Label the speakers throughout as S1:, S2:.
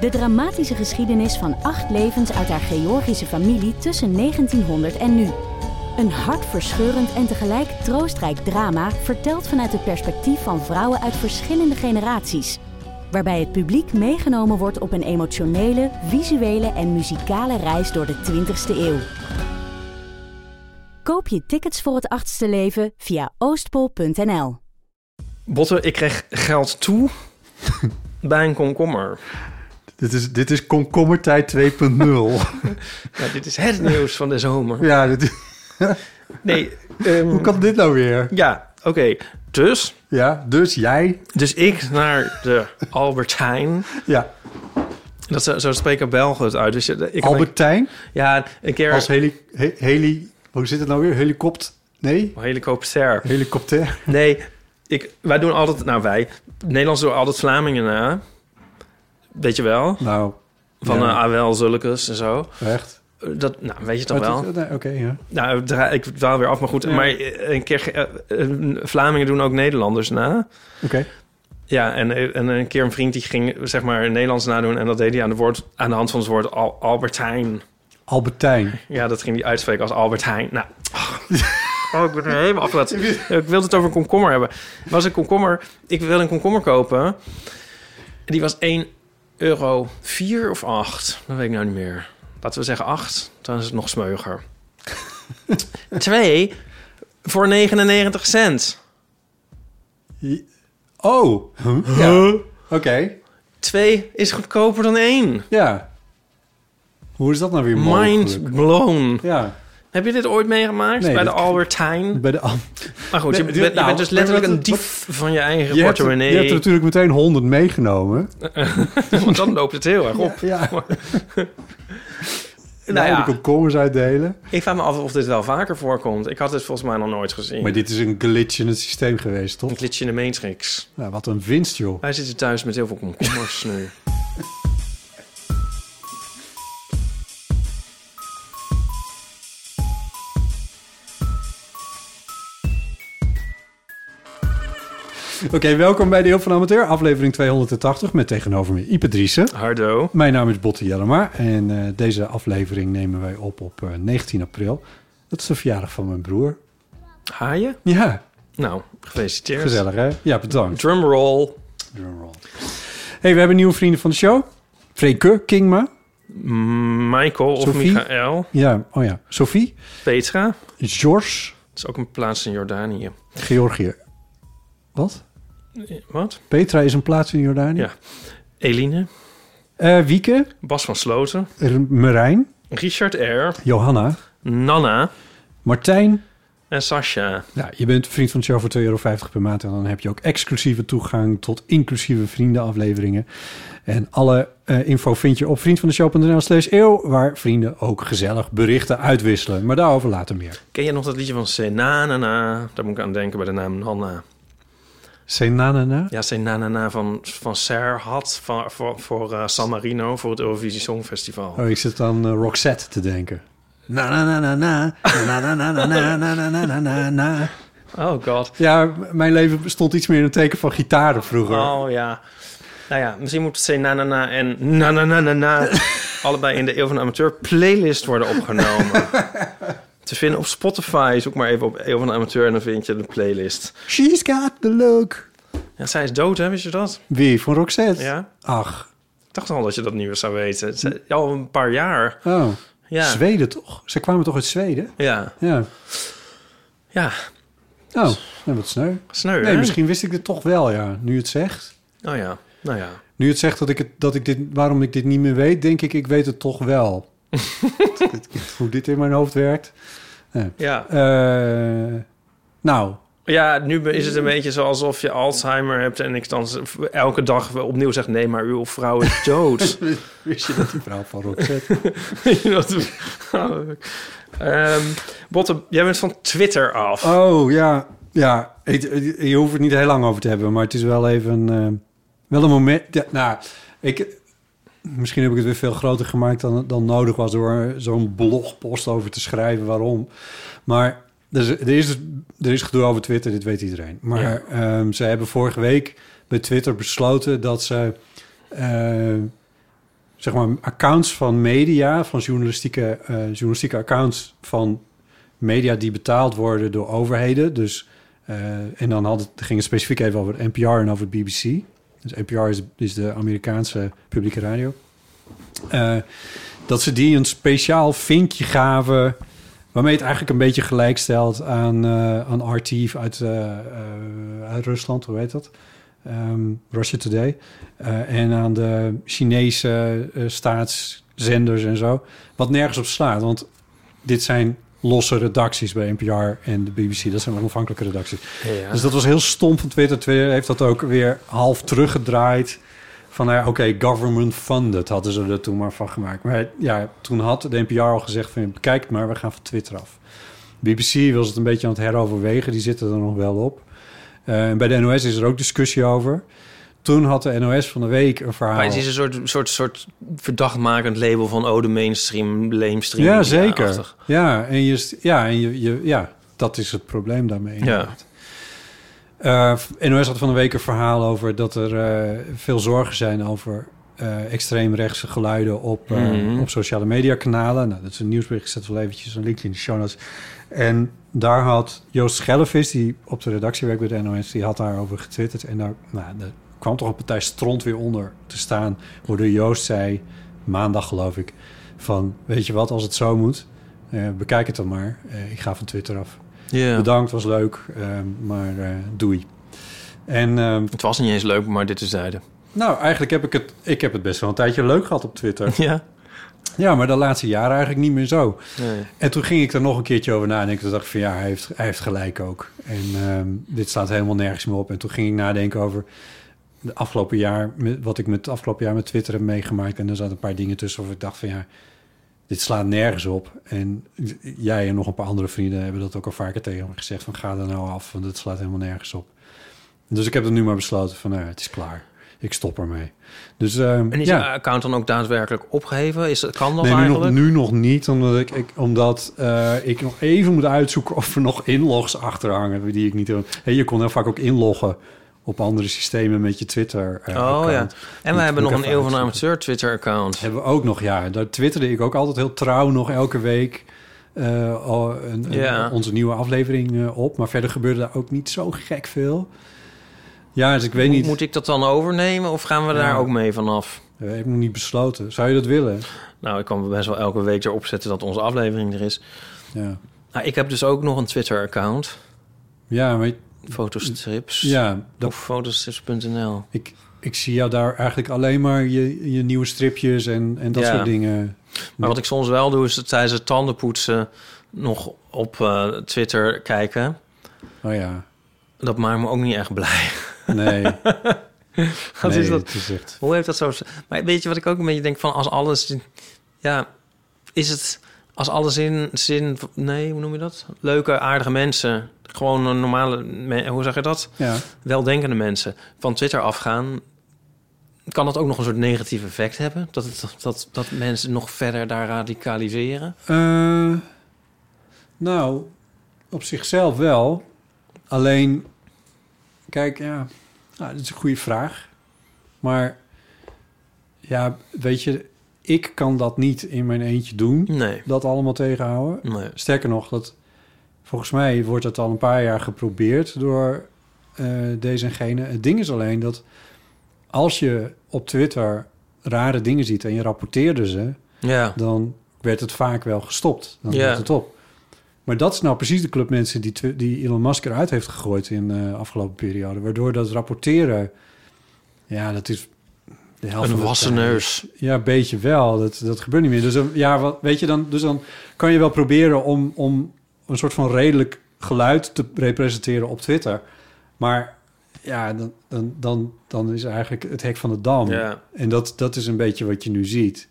S1: de dramatische geschiedenis van acht levens uit haar Georgische familie tussen 1900 en nu. Een hartverscheurend en tegelijk troostrijk drama verteld vanuit het perspectief van vrouwen uit verschillende generaties. Waarbij het publiek meegenomen wordt op een emotionele, visuele en muzikale reis door de 20ste eeuw. Koop je tickets voor het achtste leven via oostpol.nl.
S2: Botte, ik kreeg geld toe bij een komkommer.
S3: Dit is, dit is komkommertijd 2.0.
S2: Ja, dit is het nieuws van de zomer.
S3: ja, dit is-
S2: Nee, ehm,
S3: hoe kan dit nou weer?
S2: ja, oké. Dus,
S3: Ja, dus jij.
S2: dus ik naar de Albert Heijn.
S3: Ja,
S2: Dat, zo zo spreken Belgen het uit. Dus eh, ik heb
S3: Albertijn.
S2: een- ja, een keer
S3: Als heli, he- heli... Hoe zit het nou weer? Helicopt... Nee?
S2: helikopter.
S3: Helikopter.
S2: Nee, ik, wij doen altijd, nou wij, Nederlands doen altijd Vlamingen na. Weet je wel?
S3: Nou,
S2: Van
S3: Ja.
S2: eh Awel Zulkes en zo.
S3: echt.
S2: Eh, Dat, nou, weet je toch
S3: Maar
S2: wel?
S3: het is- nee, Oké, ja.
S2: Nou, dra- ik dwaal weer af, maar goed.
S3: Ja.
S2: Maar een keer, ge- eh, eh, Vlamingen doen ook Nederlanders na.
S3: Oké.
S2: Ja, en, en een keer een vriend die ging zeg maar Nederlands nadoen... en dat deed hij aan de, woord, aan de hand van het woord Al- Albertijn.
S3: Albertijn.
S2: Ja, dat ging hij uitspreken als Albert Heijn. Nou, oh, ik ben er helemaal afgelaten. Ik wilde het over een komkommer hebben. Er was een komkommer. Ik wilde een komkommer kopen. En Die was 1 euro 4 of 8. Dat weet ik nou niet meer. Laten we zeggen 8. Dan is het nog smeuger. 2 voor 99 cent.
S3: Oh. Huh? Ja. Oké.
S2: 2 is goedkoper dan 1.
S3: Ja. Hoe is dat nou weer mogelijk?
S2: Mind blown.
S3: Ja.
S2: Heb je dit ooit meegemaakt
S3: Nee,
S2: bij de
S3: dit-
S2: Albert Heijn?
S3: Bij de, am-
S2: Maar goed,
S3: Nee,
S2: je,
S3: dit-
S2: bent- je
S3: nou,
S2: bent dus
S3: maar
S2: letterlijk
S3: wat-
S2: een dief van je eigen
S3: je, hebt, er-
S2: portemonnee.
S3: je hebt er natuurlijk meteen 100 meegenomen.
S2: Want dan loopt het heel erg op.
S3: Ja.
S2: Nou ja,
S3: de komkommers uitdelen.
S2: ik vraag me af of dit wel vaker voorkomt. Ik had dit volgens mij nog nooit gezien.
S3: Maar dit is een glitch in het systeem geweest, toch?
S2: Een glitch in de matrix.
S3: Nou, wat een winst, joh.
S2: Wij zitten thuis met heel veel komkommers nu.
S3: Oké, welkom bij de Heel van Amateur, aflevering 280 met tegenover me Ipe Driessen.
S2: Hardo.
S3: Mijn naam is Botte Jellema en eh, deze aflevering nemen wij op op eh, 19 april. Dat is de verjaardag van mijn broer.
S2: Haaien?
S3: Ja,
S2: Nou, gefeliciteerd.
S3: gezellig hè? Ja, bedankt.
S2: Drumroll.
S3: Drumroll. hey, we hebben nieuwe vrienden van de show. Freke Kingma.
S2: Michael of
S3: Sophie?
S2: Michael.
S3: Ja, oh ja. Sophie.
S2: Petra. Dat
S3: George.
S2: is ook een plaats in Jordanië.
S3: Georgië. Wat?
S2: Wat?
S3: Petra is een plaats in Jordanië.
S2: Ja. Eline.
S3: Eh, Wieke.
S2: Bas van Sloten.
S3: R- Merijn.
S2: Richard R.
S3: Johanna.
S2: Nana.
S3: Martijn.
S2: En Sasha.
S3: Ja, je bent vriend van de show voor 2,50 euro per maand. En dan heb je ook exclusieve toegang tot inclusieve vriendenafleveringen. En alle eh, info vind je op vriendvandeshow.nl slash eeuw... waar vrienden ook gezellig berichten uitwisselen. Maar daarover later meer.
S2: Ken je nog dat liedje van Senanana? Daar moet ik aan denken bij de naam Nana.
S3: Senanana.
S2: Ja, zijn na-na-na van, van Serhat van, voor, voor eh, San Marino voor het Eurovisie Songfestival.
S3: Oh, ik zit aan eh, Roxette te denken. Na na na na na, na na na na na na na na na na na.
S2: Oh god.
S3: Ja, m- mijn leven stond iets meer in het teken van gitaren vroeger.
S2: Oh ja. Nou ja, misschien moet zijn na-na-na en na-na-na-na-na allebei in de Eeuw van de Amateur playlist worden opgenomen. Te vinden op Spotify. Zoek maar even op Eeuw van de Amateur en dan vind je de playlist.
S3: She's got the look.
S2: Ja, zij is dood, hè? Wist je dat?
S3: Wie, van Roxette?
S2: Ja.
S3: Ach,
S2: Ik dacht al dat je dat nu eens zou weten. Ze- Al een paar jaar.
S3: oh.
S2: Ja.
S3: Zweden toch? Ze kwamen toch uit Zweden?
S2: Ja.
S3: Ja.
S2: Ja.
S3: Oh, nou, wat sneu.
S2: Sneu,
S3: Nee,
S2: hè?
S3: misschien wist ik dit toch wel, ja. Nu het zegt.
S2: Oh ja. Nou ja.
S3: Nu het zegt dat ik, het, dat ik dit, waarom ik dit niet meer weet, denk ik, ik weet het toch wel. Hoe dit in mijn hoofd werkt.
S2: Ja.
S3: Eh, nou,
S2: Ja, nu be- is het een beetje zo alsof je Alzheimer hebt en ik dan z- elke dag opnieuw zeg: nee, maar uw vrouw is dood.
S3: Wist je dat die vrouw van Roxette?
S2: Dat- Ehm, Botte, jij bent van Twitter af.
S3: Oh ja, ja. Ik- ik- je hoeft het niet heel lang over te hebben, maar het is wel even eh, wel een moment. Ja, nou, ik, misschien heb ik het weer veel groter gemaakt dan, dan nodig was door zo'n blogpost over te schrijven waarom. Maar er is, er is, dus, er is gedoe over Twitter, dit weet iedereen. Maar
S2: Ja.
S3: ehm, ze hebben vorige week bij Twitter besloten dat ze. eh, zeg maar, accounts van media, van journalistieke, eh, journalistieke accounts van media die betaald worden door overheden. Dus, eh, en dan had het, ging het specifiek even over NPR en over het BBC. Dus NPR is, is de Amerikaanse publieke radio. Eh, dat ze die een speciaal vinkje gaven... waarmee het eigenlijk een beetje gelijk stelt aan, eh aan RT uit, eh, eh, uit Rusland. Hoe heet dat? Ehm, Russia Today. Eh, en aan de Chinese eh, staatszenders en zo. Wat nergens op slaat, want dit zijn losse redacties bij NPR en de BBC. Dat zijn onafhankelijke redacties.
S2: Ja.
S3: Dus dat was heel stom van Twitter. Twitter heeft dat ook weer half teruggedraaid. Van nou ja, oké, government funded hadden ze er toen maar van gemaakt. Maar ja, toen had de NPR al gezegd van bekijk het maar, we gaan van Twitter af. BBC was het een beetje aan het heroverwegen, die zitten er nog wel op. Eh, en bij de NOS is er ook discussie over. Toen had de NOS van de week een verhaal.
S2: Maar het is dus een soort, soort, soort verdachtmakend label van... oh, de mainstream, lamestream.
S3: Ja, zeker.
S2: achtig.
S3: Ja, en, je, st- ja, en je, je, ja, dat is het probleem daarmee. inderdaad. Eh, NOS had van de week een verhaal over dat er eh, veel zorgen zijn over eh, extreemrechtse geluiden op, eh,
S2: Mhm.
S3: op sociale mediakanalen. Nou, dat is een nieuwsbericht. Ik zet wel eventjes een linkje in de show notes. En daar had Joost Schellevis, die op de redactie werkt bij de NOS, die had daarover getwitterd. En daar, nou, daar kwam toch een partij stront weer onder te staan. Waardoor Joost zei, maandag geloof ik, van weet je wat, als het zo moet, eh, bekijk het dan maar. Eh, ik ga van Twitter af.
S2: Ja.
S3: Bedankt, was leuk, ehm, maar eh, doei. En ehm,
S2: Het was niet eens leuk, maar dit is zijde.
S3: nou, eigenlijk heb ik het, ik heb het best wel een tijdje leuk gehad op Twitter.
S2: Ja.
S3: ja, maar de laatste jaren eigenlijk niet meer zo.
S2: Nee.
S3: En toen ging ik er nog een keertje over nadenken. Toen dacht ik van ja, hij heeft, hij heeft gelijk ook. En ehm, dit staat helemaal nergens meer op. En toen ging ik nadenken over de afgelopen jaar, met- wat ik met het afgelopen jaar met Twitter heb meegemaakt. En er zaten een paar dingen tussen waarvan ik dacht van ja, dit slaat nergens op. En jij en nog een paar andere vrienden hebben dat ook al vaker tegen me gezegd van ga er nou af, want dit slaat helemaal nergens op. Dus ik heb er nu maar besloten van nou, ja, het is klaar. Ik stop ermee. Dus ehm,
S2: En is
S3: ja.
S2: je account dan ook daadwerkelijk opgeheven? Is, kan dat
S3: Nee, nu nog,
S2: eigenlijk?
S3: nu nog niet, omdat, ik, ik, omdat eh, ik nog even moet uitzoeken of er nog inlogs achter hangen die ik niet heb. Hey, je kon heel vaak ook inloggen op andere systemen met je Twitter. eh,
S2: Oh ja.
S3: account.
S2: En
S3: Moet-
S2: we hebben
S3: moet
S2: nog
S3: ik
S2: een
S3: even
S2: Eeuw van
S3: uitzoeken.
S2: Amateur Twitter-account.
S3: Hebben we ook nog, ja. Daar twitterde ik ook altijd heel trouw nog elke week eh, al een, een-
S2: Ja.
S3: onze nieuwe aflevering eh, op. Maar verder gebeurde daar ook niet zo gek veel. Ja, dus ik weet niet.
S2: Moet ik dat dan overnemen of gaan we daar
S3: Ja.
S2: ook mee vanaf?
S3: Ik heb nog niet besloten. Zou je dat willen?
S2: Nou, ik kan best wel elke week erop zetten dat onze aflevering er is.
S3: Ja,
S2: Nou, ik heb dus ook nog een Twitter-account.
S3: ja maar
S2: Fotostrips.
S3: ja, dat,
S2: Of fotostrips.nl.
S3: Ik, ik zie jou daar eigenlijk alleen maar je, je nieuwe stripjes en, en dat
S2: Ja.
S3: soort dingen.
S2: Maar wat ik soms wel doe, is dat tijdens het tandenpoetsen nog op eh, Twitter kijken.
S3: Oh ja,
S2: Dat maakt me ook niet echt blij.
S3: nee.
S2: Wat
S3: nee,
S2: is dat?
S3: Het is echt,
S2: Hoe heeft dat zo... Maar weet je wat ik ook een beetje denk van als alles... Ja, is het... Als alles in zin... Nee, hoe noem je dat? Leuke, aardige mensen. Gewoon een normale... me- Hoe zeg je dat?
S3: ja.
S2: Weldenkende mensen. Van Twitter afgaan. Kan dat ook nog een soort negatief effect hebben? Dat, het, dat, dat mensen nog verder daar radicaliseren?
S3: Eh, nou, op zichzelf wel. Alleen, kijk, ja, nou, dat is een goede vraag. Maar ja, weet je, ik kan dat niet in mijn eentje doen.
S2: Nee.
S3: Dat allemaal tegenhouden.
S2: Nee.
S3: Sterker nog, dat, volgens mij wordt het al een paar jaar geprobeerd door eh, deze en gene. Het ding is alleen dat als je op Twitter rare dingen ziet en je rapporteerde ze,
S2: Ja.
S3: dan werd het vaak wel gestopt. Dan
S2: Ja.
S3: hield het op. Maar dat is nou precies de club mensen die, Twi- die Elon Musk eruit heeft gegooid in de afgelopen periode. Waardoor dat rapporteren, ja, dat is de helft
S2: Een
S3: van de
S2: wassen
S3: tijd.
S2: neus.
S3: Ja, een beetje wel. Dat, dat gebeurt niet meer. Dus dan- ja, wat, weet je, dan, dus dan kan je wel proberen om, om een soort van redelijk geluid te representeren op Twitter. Maar ja, dan, dan, dan, dan is eigenlijk het hek van de dam.
S2: Ja.
S3: En dat, dat is een beetje wat je nu ziet.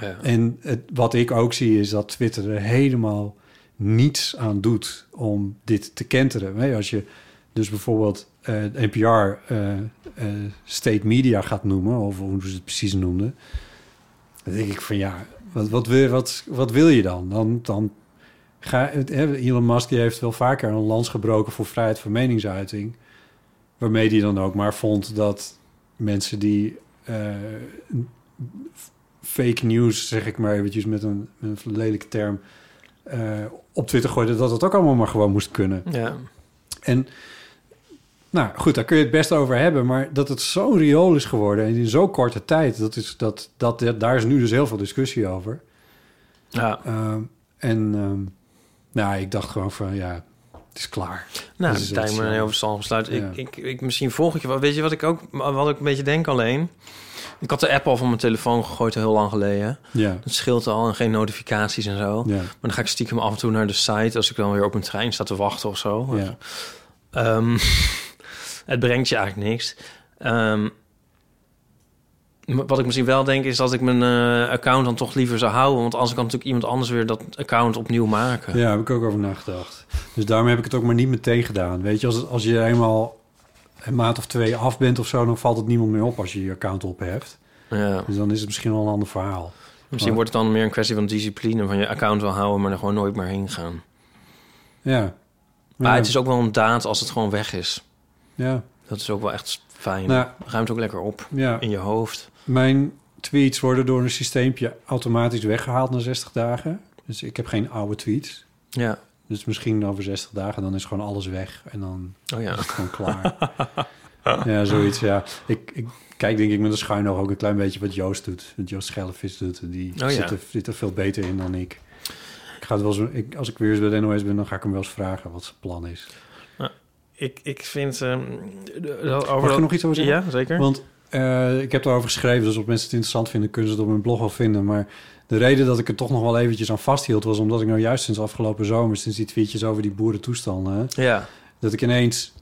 S2: Ja.
S3: En het, wat ik ook zie is dat Twitter er helemaal niets aan doet om dit te kenteren. Nee, Als je dus bijvoorbeeld eh NPR eh, eh, state media gaat noemen, of hoe ze het precies noemden, dan denk ik van ja, wat, wat, wil, wat, wat wil je dan? Dan, dan ga, eh, Elon Musk die heeft wel vaker een lans gebroken voor vrijheid van meningsuiting, waarmee die dan ook maar vond dat mensen die eh, fake news, zeg ik maar eventjes met een, met een lelijke term, eh, op Twitter gooiden, dat dat ook allemaal maar gewoon moest kunnen.
S2: Ja.
S3: En nou goed, daar kun je het best over hebben, maar dat het zo'n riool is geworden en in zo'n korte tijd, dat is, dat, dat, daar is nu dus heel veel discussie over.
S2: ja.
S3: Ehm, en ehm, nou, ik dacht gewoon van ja, het is klaar.
S2: Nou, dat
S3: Dus is
S2: lijkt me
S3: echt
S2: een
S3: zo.
S2: heel verstandig besluit.
S3: Ja.
S2: Ik, ik, ik, misschien volgend jaar... Weet je wat ik ook wat ik een beetje denk alleen? Ik had de app al van mijn telefoon gegooid heel lang geleden.
S3: Ja,
S2: Dat scheelt al en geen notificaties en zo.
S3: ja,
S2: Maar dan ga ik stiekem af en toe naar de site... als ik dan weer op een trein sta te wachten of zo.
S3: ja.
S2: Ehm, het brengt je eigenlijk niks. Ehm, m- wat ik misschien wel denk is dat ik mijn eh, account dan toch liever zou houden. Want anders kan natuurlijk iemand anders weer dat account opnieuw maken.
S3: Ja, heb ik ook over nagedacht. Dus daarom heb ik het ook maar niet meteen gedaan. Weet je, als, als je eenmaal een maand of twee af bent of zo, dan valt het niemand meer op als je je account op hebt.
S2: Ja.
S3: Dus dan is het misschien wel een ander verhaal.
S2: Misschien wordt het dan meer een kwestie van discipline. Van je account wel houden, maar er gewoon nooit meer heen gaan.
S3: Ja.
S2: Maar
S3: ja.
S2: het is ook wel een daad als het gewoon weg is.
S3: Ja,
S2: Dat is ook wel echt fijn.
S3: Nou.
S2: Ruimt ook lekker op
S3: ja.
S2: in je hoofd.
S3: Mijn tweets worden door een systeempje automatisch weggehaald na 60 dagen. Dus ik heb geen oude tweets.
S2: Ja.
S3: Dus misschien over 60 dagen, dan is gewoon alles weg. En dan
S2: Oh ja.
S3: is het gewoon klaar. ja, zoiets, ja. Ik, ik kijk denk ik met een schuin oog ook een klein beetje wat Joost doet. Wat Joost Schellevis doet. Die
S2: ja.
S3: zit, er, zit er veel beter in dan ik. Ik ga het wel eens, ik, als ik weer eens bij de NOS ben, dan ga ik hem wel eens vragen wat zijn plan is.
S2: Ik, ik vind... ehm, over
S3: Mag ik er nog iets over zeggen?
S2: Ja, zeker.
S3: Want eh, ik heb daarover geschreven, dus als mensen het interessant vinden, kunnen ze het op mijn blog wel vinden. Maar de reden dat ik er toch nog wel eventjes aan vasthield, was omdat ik nou juist sinds afgelopen zomer, sinds die tweetjes over die boerentoestanden, hè,
S2: Ja.
S3: dat ik ineens,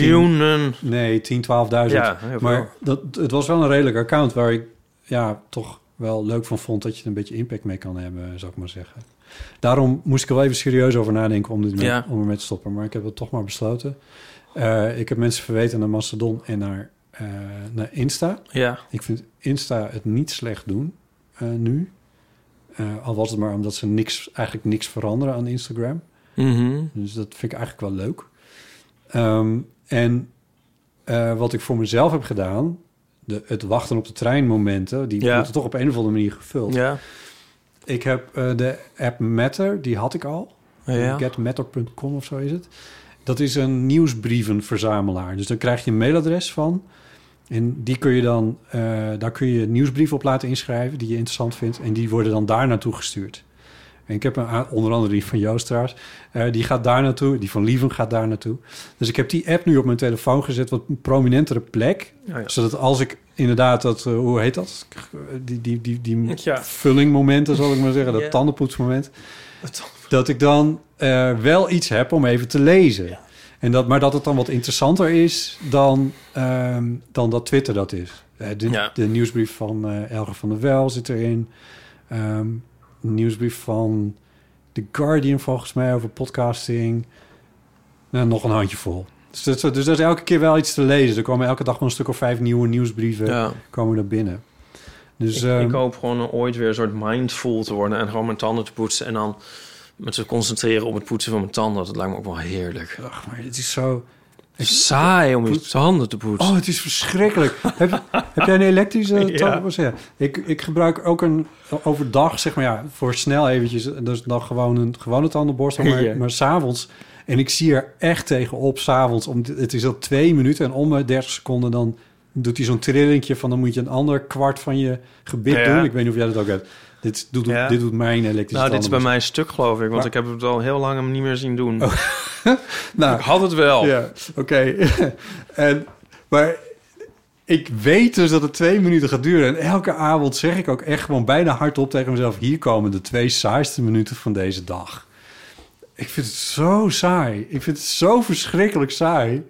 S2: Miljoenen.
S3: nee, 10, 12.000.
S2: Ja, heel veel.
S3: maar dat, het was wel een redelijk account waar ik ja, toch wel leuk van vond dat je er een beetje impact mee kan hebben, zou ik maar zeggen. Daarom moest ik er wel even serieus over nadenken om, dit met-
S2: Ja.
S3: om ermee te stoppen. Maar ik heb het toch maar besloten. Eh, ik heb mensen verweten naar Mastodon en naar, eh, naar Insta.
S2: Ja.
S3: Ik vind Insta het niet slecht doen eh, nu. Eh, al was het maar omdat ze niks, eigenlijk niks veranderen aan Instagram.
S2: Mhm.
S3: Dus dat vind ik eigenlijk wel leuk. Ehm, en eh, wat ik voor mezelf heb gedaan... De, het wachten op de treinmomenten... die
S2: Ja.
S3: moeten toch op een of andere manier gevuld.
S2: Ja.
S3: Ik heb eh, de app Matter, die had ik al.
S2: Ja.
S3: Getmatter.com of zo is het. Dat is een nieuwsbrievenverzamelaar. Dus dan krijg je een mailadres van. En die kun je dan, eh, daar kun je nieuwsbrieven op laten inschrijven die je interessant vindt. En die worden dan daar naartoe gestuurd. En ik heb een, a- onder andere die van Joost trouwens. Eh, die gaat daar naartoe. Die van Lieven gaat daar naartoe. Dus ik heb die app nu op mijn telefoon gezet. Wat een prominentere plek.
S2: Oh ja.
S3: Zodat als ik inderdaad dat, eh, hoe heet dat? Die, die, die, die
S2: Ja.
S3: vullingmomenten, zal ik maar zeggen. Dat
S2: Ja.
S3: tandenpoetsmoment dat ik dan eh, wel iets heb om even te lezen. En dat, maar dat het dan wat interessanter is dan, ehm, dan dat Twitter dat is. Eh, de,
S2: Ja.
S3: de nieuwsbrief van eh, Elger van der Wel zit erin. Ehm, de nieuwsbrief van The Guardian volgens mij over podcasting. Nou, nog een handjevol. Dus dat, is- dus dat is elke keer wel iets te lezen. Er komen elke dag wel een stuk of vijf nieuwe nieuwsbrieven
S2: Ja.
S3: komen er binnen. Dus,
S2: ik,
S3: ehm,
S2: ik hoop gewoon eh, ooit weer een soort mindful te worden en gewoon mijn tanden te poetsen en dan me te concentreren op het poetsen van mijn tanden. Dat lijkt me ook wel heerlijk.
S3: ach, maar het is zo...
S2: Saai om je tanden te poetsen.
S3: Oh, het is verschrikkelijk. heb, je- heb jij een elektrische
S2: Ja.
S3: tandenborstel? Ja. Ik, ik gebruik ook een overdag, zeg maar ja, voor snel eventjes. Dus dan gewoon een gewone tandenborstel, maar,
S2: Ja.
S3: maar s'avonds. En ik zie er echt tegen op s'avonds. om- Het is al twee minuten en om de 30 seconden dan doet hij zo'n trillingje van... dan moet je een ander kwart van je gebit
S2: Ja.
S3: doen. Ik weet niet of jij dat ook hebt. Dit doet,
S2: Ja.
S3: dit doet mijn elektrische
S2: nou, dit is bij
S3: tandenborstel.
S2: mij stuk, geloof ik, want
S3: Maar-
S2: ik heb het al heel lang hem niet meer zien doen.
S3: Nou,
S2: Ik had het wel.
S3: Ja, oké. en, maar ik weet dus dat het twee minuten gaat duren. En elke avond zeg ik ook echt gewoon bijna hardop tegen mezelf... hier komen de twee saaiste minuten van deze dag. Ik vind het zo saai. Ik vind het zo verschrikkelijk saai.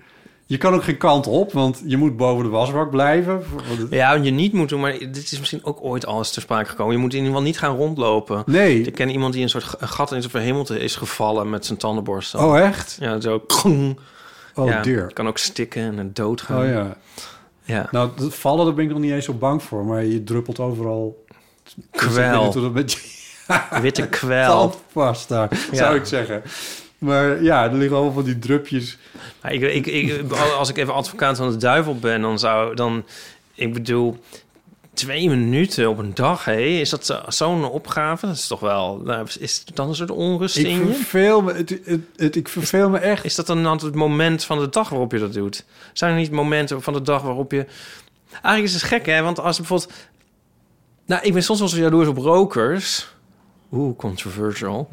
S3: Je kan ook geen kant op, want je moet boven de wasbak blijven. Want het-
S2: Ja, wat je niet moet doen, maar dit is misschien ook ooit al eens ter sprake gekomen. Je moet in ieder geval niet gaan rondlopen.
S3: Nee.
S2: Ik ken iemand die een soort g- een gat in zijn verhemelte is gevallen met zijn tandenborstel.
S3: Oh, echt?
S2: Ja, zo. krong.
S3: Oh,
S2: ja,
S3: dear.
S2: je kan ook stikken en dan doodgaan.
S3: Oh ja.
S2: ja.
S3: Nou, dat vallen, daar ben ik nog niet eens zo bang voor. Maar je druppelt overal...
S2: Kwel.
S3: Tot het met
S2: Witte kwel.
S3: tandpasta,
S2: Ja.
S3: zou ik zeggen. Maar ja, er liggen allemaal van die drupjes.
S2: Maar ik, Nou, ik, ik, als ik even advocaat van de duivel ben, dan zou dan, ik bedoel, twee minuten op een dag, hé, is dat zo- zo'n opgave? Dat is toch wel, nou, is het dan een soort onrust
S3: Ik
S2: in je?
S3: verveel me, het, het, het- ik verveel me echt.
S2: Is dat dan altijd het moment van de dag waarop je dat doet? Zijn er niet momenten van de dag waarop je... Eigenlijk is het gek, hè? Want als je bijvoorbeeld... Nou, ik ben soms wel zo jaloers op rokers. Oeh, controversial.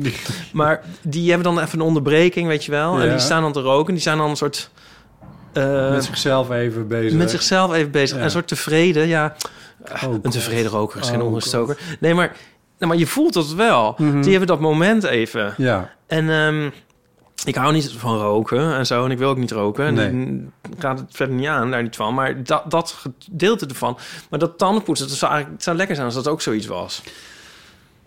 S2: Maar die hebben dan even een onderbreking, weet je wel. En
S3: Ja.
S2: die staan dan te roken. Die zijn dan een soort... eh,
S3: met zichzelf even bezig.
S2: met zichzelf even bezig.
S3: Ja.
S2: Een soort tevreden, ja.
S3: Oh,
S2: Een tevreden roker is geen
S3: Oh, Mhm.
S2: ongestoker. Nee, maar, nou, maar je voelt dat wel. Die hebben dat moment even.
S3: Ja,
S2: En ehm, ik hou niet van roken en zo. En ik wil ook niet roken. En
S3: Nee.
S2: ik gaat het verder niet aan, daar niet van. Maar dat, dat gedeelte ervan. Maar dat tandenpoetsen, dat zou eigenlijk het zou lekker zijn als dat ook zoiets was.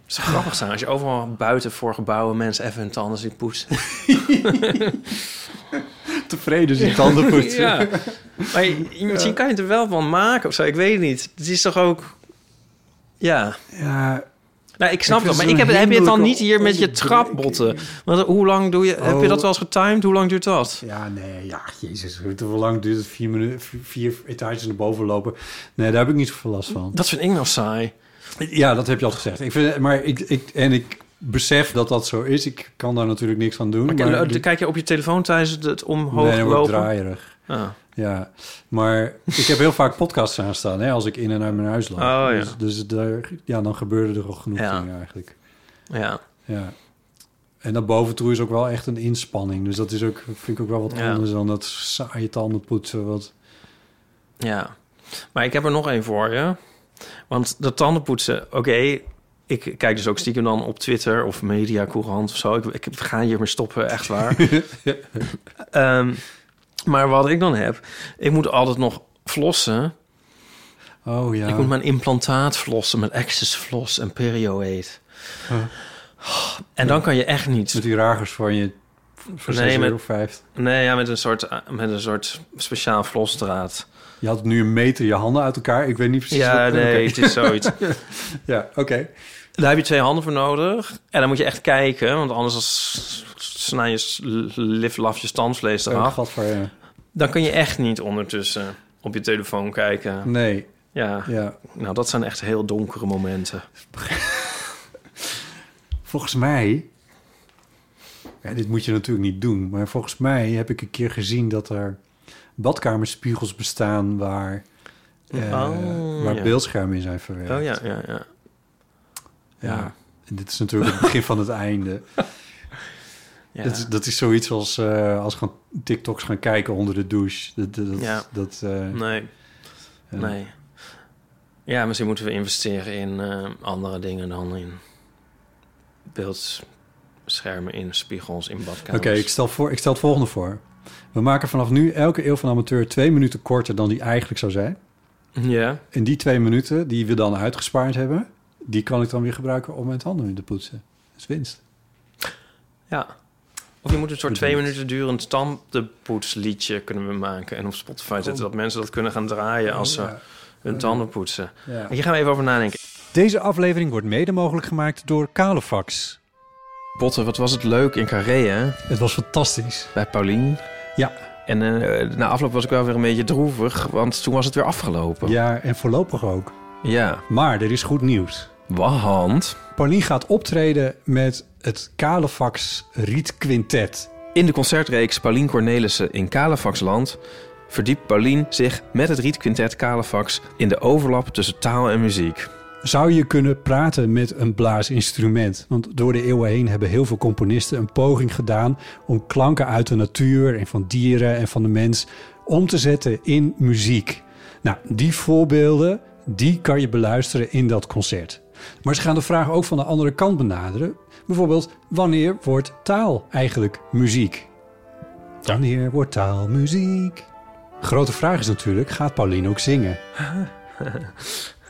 S2: Het zou grappig zijn als je overal buiten voor gebouwen mensen even hun tanden ziet poetsen.
S3: tevreden zijn tanden poetsen.
S2: Ja. Maar je- misschien kan je het er wel van maken of zo. Ik weet het niet. Het is toch ook... Ja.
S3: Ja,
S2: Nou, ik snap
S3: Ik vind
S2: dat.
S3: het
S2: Maar ik heb,
S3: zo'n
S2: heb je het dan
S3: hinderlijke
S2: niet hier met je trapbotten? Want hoe lang doe je... Heb je
S3: Oh.
S2: dat wel eens getimed? Hoe lang duurt dat?
S3: ja, nee, ja, jezus. Hoe hoe lang duurt het? Vier, minuten, vier etages naar boven lopen. Nee, daar heb ik niet zoveel last van.
S2: Dat vind ik nou saai.
S3: Ja, dat heb je al gezegd. Ik vind, maar ik, ik, en ik besef dat dat zo is. Ik kan daar natuurlijk niks aan doen.
S2: Maar,
S3: maar
S2: eh, kijk je op je telefoon tijdens het- het omhoog
S3: nee, dan word ik
S2: lopen?
S3: draaierig.
S2: Ah.
S3: Ja, maar ik heb heel vaak podcasts aanstaan hè, als ik in en uit mijn huis loop.
S2: Oh, ja.
S3: Dus, dus daar, ja, dan gebeurde er al genoeg
S2: Ja.
S3: dingen eigenlijk.
S2: Ja.
S3: Ja. En naar boven toe is ook wel echt een inspanning. Dus dat is ook, vind ik ook wel wat
S2: Ja.
S3: anders dan dat saaie tanden poetsen. Wat...
S2: ja. Maar ik heb er nog één voor je. Want dat tandenpoetsen, oké... ik kijk dus ook stiekem dan op Twitter of Media Courant of zo. Ik, ik ga hiermee stoppen, echt waar. Ehm, maar wat ik dan heb... Ik moet altijd nog flossen.
S3: Oh ja.
S2: Ik moet mijn implantaat flossen met Access Floss en Perio Aid. En dan kan je echt niet
S3: Met die ragers van je voor
S2: Nee,
S3: 6,50
S2: met-
S3: euro. vijf.
S2: Nee, ja, met een soort, eh, met een soort speciaal vlosdraad.
S3: Je had nu een meter je handen uit elkaar. Ik weet niet precies
S2: Ja,
S3: wat-
S2: nee,
S3: oké.
S2: het is zoiets.
S3: Ja, oké.
S2: Daar heb je twee handen voor nodig. En dan moet je echt kijken, want anders als snij je s- lif laf je standvlees
S3: Oh,
S2: eraf.
S3: gat voor je.
S2: Dan kun je echt niet ondertussen op je telefoon kijken.
S3: Nee,
S2: Ja,
S3: ja.
S2: nou dat zijn echt heel donkere momenten.
S3: Volgens mij... Ja, dit moet je natuurlijk niet doen. Maar volgens mij heb ik een keer gezien dat er badkamerspiegels bestaan... waar, eh,
S2: Oh,
S3: waar
S2: ja.
S3: beeldschermen in zijn verwerkt.
S2: Oh ja, ja, ja.
S3: Ja, en dit is natuurlijk het begin van het einde.
S2: Ja.
S3: Dat, is, dat is zoiets als, eh, als gaan TikToks gaan kijken onder de douche. Dat, dat, dat-
S2: Ja.
S3: dat, eh,
S2: Nee,
S3: ja.
S2: nee. Ja, misschien moeten we investeren in eh, andere dingen dan in beeldschermen, in spiegels, in
S3: Oké,
S2: badkamers.
S3: ik, stel voor- ik stel het volgende voor. We maken vanaf nu elke eeuw van amateur twee minuten korter dan die eigenlijk zou zijn.
S2: Ja,
S3: En die twee minuten die we dan uitgespaard hebben, die kan ik dan weer gebruiken om mijn tanden in te poetsen. Dat is winst.
S2: ja. Of je moet een soort
S3: Bedoeld.
S2: twee minuten durend tandenpoetsliedje kunnen we maken. En op Spotify zetten dat mensen dat kunnen gaan draaien als ze
S3: Oh. Ja.
S2: hun tanden poetsen.
S3: Ja.
S2: Hier gaan we even over nadenken.
S3: Deze aflevering wordt mede mogelijk gemaakt door Kalefax.
S2: Botten, wat was het leuk in Carré, hè?
S3: Het was fantastisch.
S2: Bij Paulien.
S3: Ja.
S2: En eh, na afloop was ik wel weer een beetje droevig, want toen was het weer afgelopen.
S3: Ja, en voorlopig ook.
S2: ja.
S3: Maar er is goed nieuws.
S2: Want
S3: Paulien gaat optreden met het Kalefax Riet Quintet.
S2: in de concertreeks Paulien Cornelissen in Kalefaxland... verdiept Paulien zich met het rietquintet Kalefax... in de overlap tussen taal en muziek.
S3: Zou je kunnen praten met een blaasinstrument? Want door de eeuwen heen hebben heel veel componisten een poging gedaan om klanken uit de natuur en van dieren en van de mens om te zetten in muziek. Nou, die voorbeelden, die kan je beluisteren in dat concert. Maar ze gaan de vraag ook van de andere kant benaderen. Bijvoorbeeld, wanneer wordt taal eigenlijk muziek? Wanneer wordt taal muziek? Grote vraag is natuurlijk, gaat Pauline ook zingen?